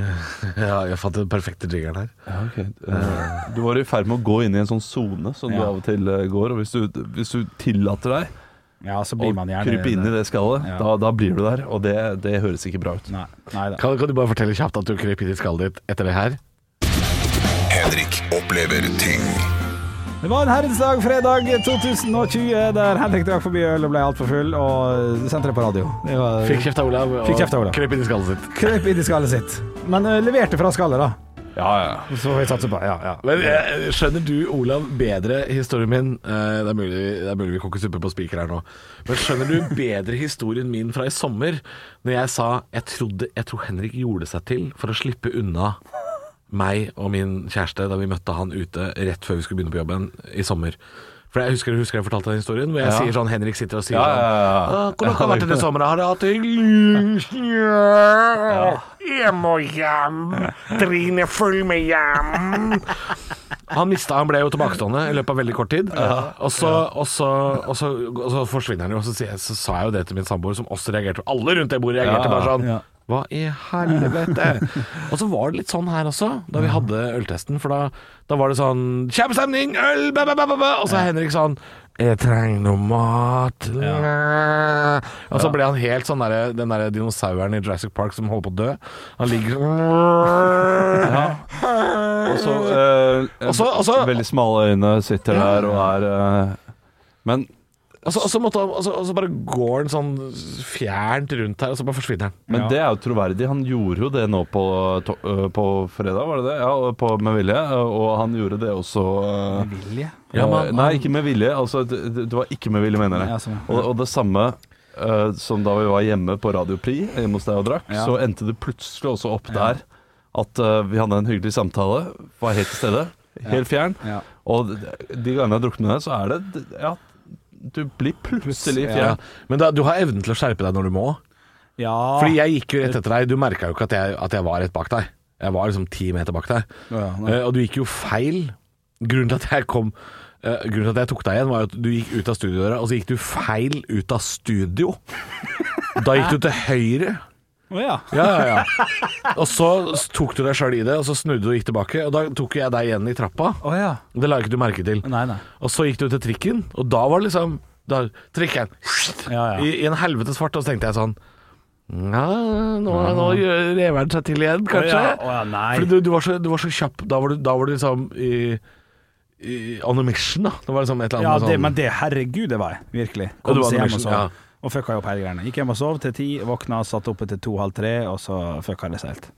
S1: Ja, jeg fant den perfekte jiggeren her.
S3: Ja, ok. Eh, Du var i ferd med å gå inn i en sånn sone som du
S2: Ja.
S3: av og til eh, går. Og hvis du, hvis du tillater deg
S2: Ja, så
S3: å
S2: blir man gjerne
S3: krype inn i det skallet,
S2: Ja.
S3: da, da blir du der. Og det, det høres ikke bra ut.
S2: Nei, nei da.
S1: Kan, kan du bare fortelle kjapt at du krøp inn i skallet ditt etter det her?
S6: Henrik opplever ting.
S2: Det var en herrens dag, fredag 2020, der Henrik drakk forbi øl og ble altfor full, og sendte det på radio. Det var,
S1: Fikk kjeft av Olav,
S2: Fikk kjeft av Olav.
S1: krøp inn i skallet sitt.
S2: krøp inn i skallet sitt. Men eh, leverte fra skallet, da.
S3: Ja, ja.
S2: Så får vi satse på. Ja, ja.
S1: Men eh, Skjønner du, Olav, bedre historien min eh, Det er mulig, det er mulig vi koker suppe på spiker her nå. Men skjønner du bedre historien min fra i sommer, når jeg sa jeg, trodde, jeg tror Henrik gjorde seg til for å slippe unna meg og min kjæreste da vi møtte han ute rett før vi skulle begynne på jobben i sommer. For jeg husker, husker jeg fortalte den historien, hvor jeg sier sånn Henrik sitter og sier
S3: Ja, ja, ja,
S1: sånn
S3: ja.
S1: «Å, Hvordan har det vært denne sommeren? Har du hatt det hyggelig? Jeg må hjem. Trine, følg med hjem. Han mistet, han ble jo tilbakestående i løpet av veldig kort tid. Og, så, og, så, og, så, og så forsvinner han jo. Og så, sier jeg, så sa jeg jo det til min samboer, som også reagerte. Alle rundt det bordet reagerte bare sånn.
S2: Ja.
S1: Hva i helvete? og så var det litt sånn her også, da vi hadde øltesten. For da, da var det sånn Kjempestemning! Øl! Bæ, bæ, bæ, bæ, bæ. Og så er Henrik sånn jeg trenger noe mat Og så ble han helt sånn der, den der dinosauren i Jurassic Park som holder på å dø. Han ligger sånn
S3: Og så eh,
S1: Og så- og så-
S3: Veldig smale øyne sitter der og er eh, Men
S1: Og så, og, så måtte, han- og, så, og så bare går han sånn fjernt rundt her, og så bare forsvinner han.
S3: Men det er jo troverdig. Han gjorde jo det nå på, to øh, på fredag, var det det? Ja, og på, med vilje. Og han gjorde det også øh,
S2: Vilje?
S1: Ja, men han-
S3: øh, Nei, ikke med vilje. Altså, det, det det var ikke med vilje, mener
S2: Ja,
S3: jeg.
S2: sånn, ja.
S3: Og, og det samme øh, som da vi var hjemme på Radio Pri, hjemme hos deg og drakk,
S2: Ja.
S3: så endte det plutselig også opp der at øh, vi hadde en hyggelig samtale, var helt til stede, helt fjern.
S2: Ja.
S3: Og de de gangene jeg har drukket med deg, så er det Ja, du blir plutselig
S2: Plutselig,
S3: fjern.
S1: Men da, du har evnen til å skjerpe deg når du må.
S2: ja.
S1: Fordi jeg gikk jo rett etter deg. Du merka jo ikke at jeg, at jeg var rett bak deg. Jeg var liksom ti meter bak deg.
S2: Ja, nei.
S1: Eh, og du gikk jo feil. Grunnen til at jeg kom eh, Grunnen til at jeg tok deg igjen, var jo at du gikk ut av studiodøra, og så gikk du feil ut av studio. Da gikk du til høyre.
S2: Å, ja.
S1: Ja, ja, ja. Og så tok du deg sjøl i det, og så snudde du og gikk tilbake. Og da tok jeg deg igjen i trappa.
S2: Å, ja.
S1: Det la ikke du merke til.
S2: Nei, nei.
S1: Og så gikk du til trikken, og da var det liksom Da trykker jeg
S2: Ja, ja.
S1: I, i en helvetes fart, og så tenkte jeg sånn ja, nå, nå gjør reveren seg til igjen, kanskje.
S2: Å ja, å ja, nei.
S1: Fordi du, du, var så, du var så kjapp. Da var du, da var du liksom i, i On a mission, da. Det var liksom et eller
S2: Ja,
S1: annet
S2: det,
S1: sånn
S2: men det, herregud, det var jeg. Virkelig.
S1: Ja, du
S2: Kom
S1: var
S2: seg hjem og
S1: animation,
S2: sov.
S1: ja.
S2: Og fucka jo opp hele greiene. Gikk hjem og sov til ti, våkna, satt oppe til to, halv tre, og så fucka det seg helt.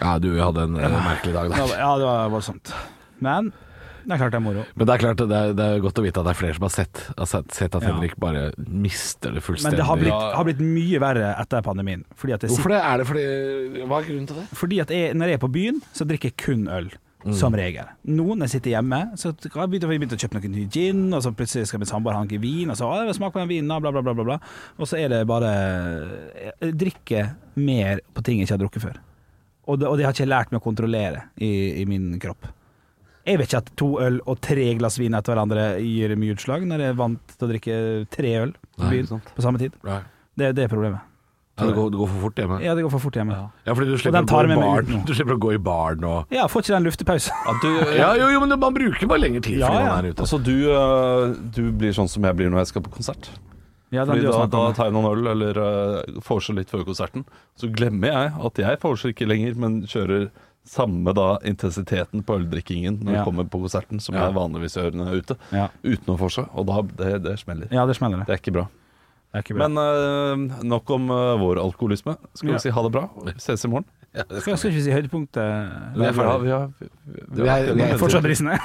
S1: Ja, du hadde en eh, merkelig dag
S2: Ja,
S1: der.
S2: Ja, det var voldsomt. Men det er klart det er moro.
S1: Men det er klart, det er, det er godt å vite at det er flere som har sett, har sett, sett at
S2: Ja.
S1: Henrik bare mister det
S2: Men
S1: fullstendig.
S2: det har blitt, har blitt mye verre etter pandemien. Fordi at, jeg
S1: Hvorfor det? Er det fordi Hva er grunnen til det?
S2: sitter- fordi at jeg, når jeg er på byen, så drikker jeg kun øl.
S3: Mm.
S2: Som regel. Nå når jeg sitter hjemme, så har jeg begynt, jeg begynt å kjøpe noe ny gin, og så plutselig skal min samboer hanke vin, og så «Å, smak på den vinen, da», bla, bla, bla, bla, bla. Og så er det bare Jeg drikker mer på ting jeg ikke har drukket før. Og det, og det har ikke jeg lært meg å kontrollere i, i min kropp. Jeg vet ikke at to øl og tre glass vin etter hverandre gir mye utslag, når jeg er vant til å drikke tre øl på
S1: Nei,
S2: byen på samme tid.
S1: Ja,
S2: Det, det er problemet.
S1: det, går, det går for fort hjemme.
S2: Ja, det går for fort hjemme. Ja,
S1: Ja, fordi du
S2: Og den
S1: slipper, å gå
S2: tar
S1: i
S2: med meg ut
S1: baren.
S2: nå.
S1: du slipper å gå i baren og
S2: får ikke den luftepausen.
S1: ja, jo, jo, men man bruker bare lengre tid
S2: Ja,
S1: fordi
S2: ja.
S1: man er ute.
S3: Altså, du, eh, du blir sånn som jeg blir når jeg skal på konsert.
S2: Ja, den
S3: Fordi
S2: du har
S3: da,
S2: snakket
S3: da
S2: om.
S3: tar jeg noen øl, eller uh, vorser litt før konserten. Så glemmer jeg at jeg vorser ikke lenger, men kjører samme da intensiteten på øldrikkingen når
S2: Ja.
S3: jeg kommer på konserten, som
S2: Ja.
S3: jeg vanligvis gjør når jeg er ute.
S2: Ja.
S3: Uten å vorse. Og da det, det smeller.
S2: ja, det smeller, det.
S3: Det er ikke bra.
S2: Det er ikke bra.
S3: Men eh, nok om eh, vår alkoholisme. Skal vi
S2: Ja.
S3: si ha det bra? Vi ses i morgen.
S1: Ja, det skal
S2: skal, skal ikke vi si høydepunktet?
S3: Vi er ferdig. Vi har- vi- vi
S1: Vi
S3: har-
S1: er- vi er-
S2: Fortsatt risene.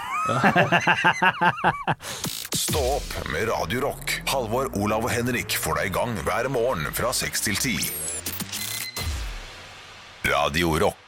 S6: Stå opp med Radio Rock. Halvor, Olav og Henrik får deg i gang hver morgen fra 6 til 10. Radio Rock.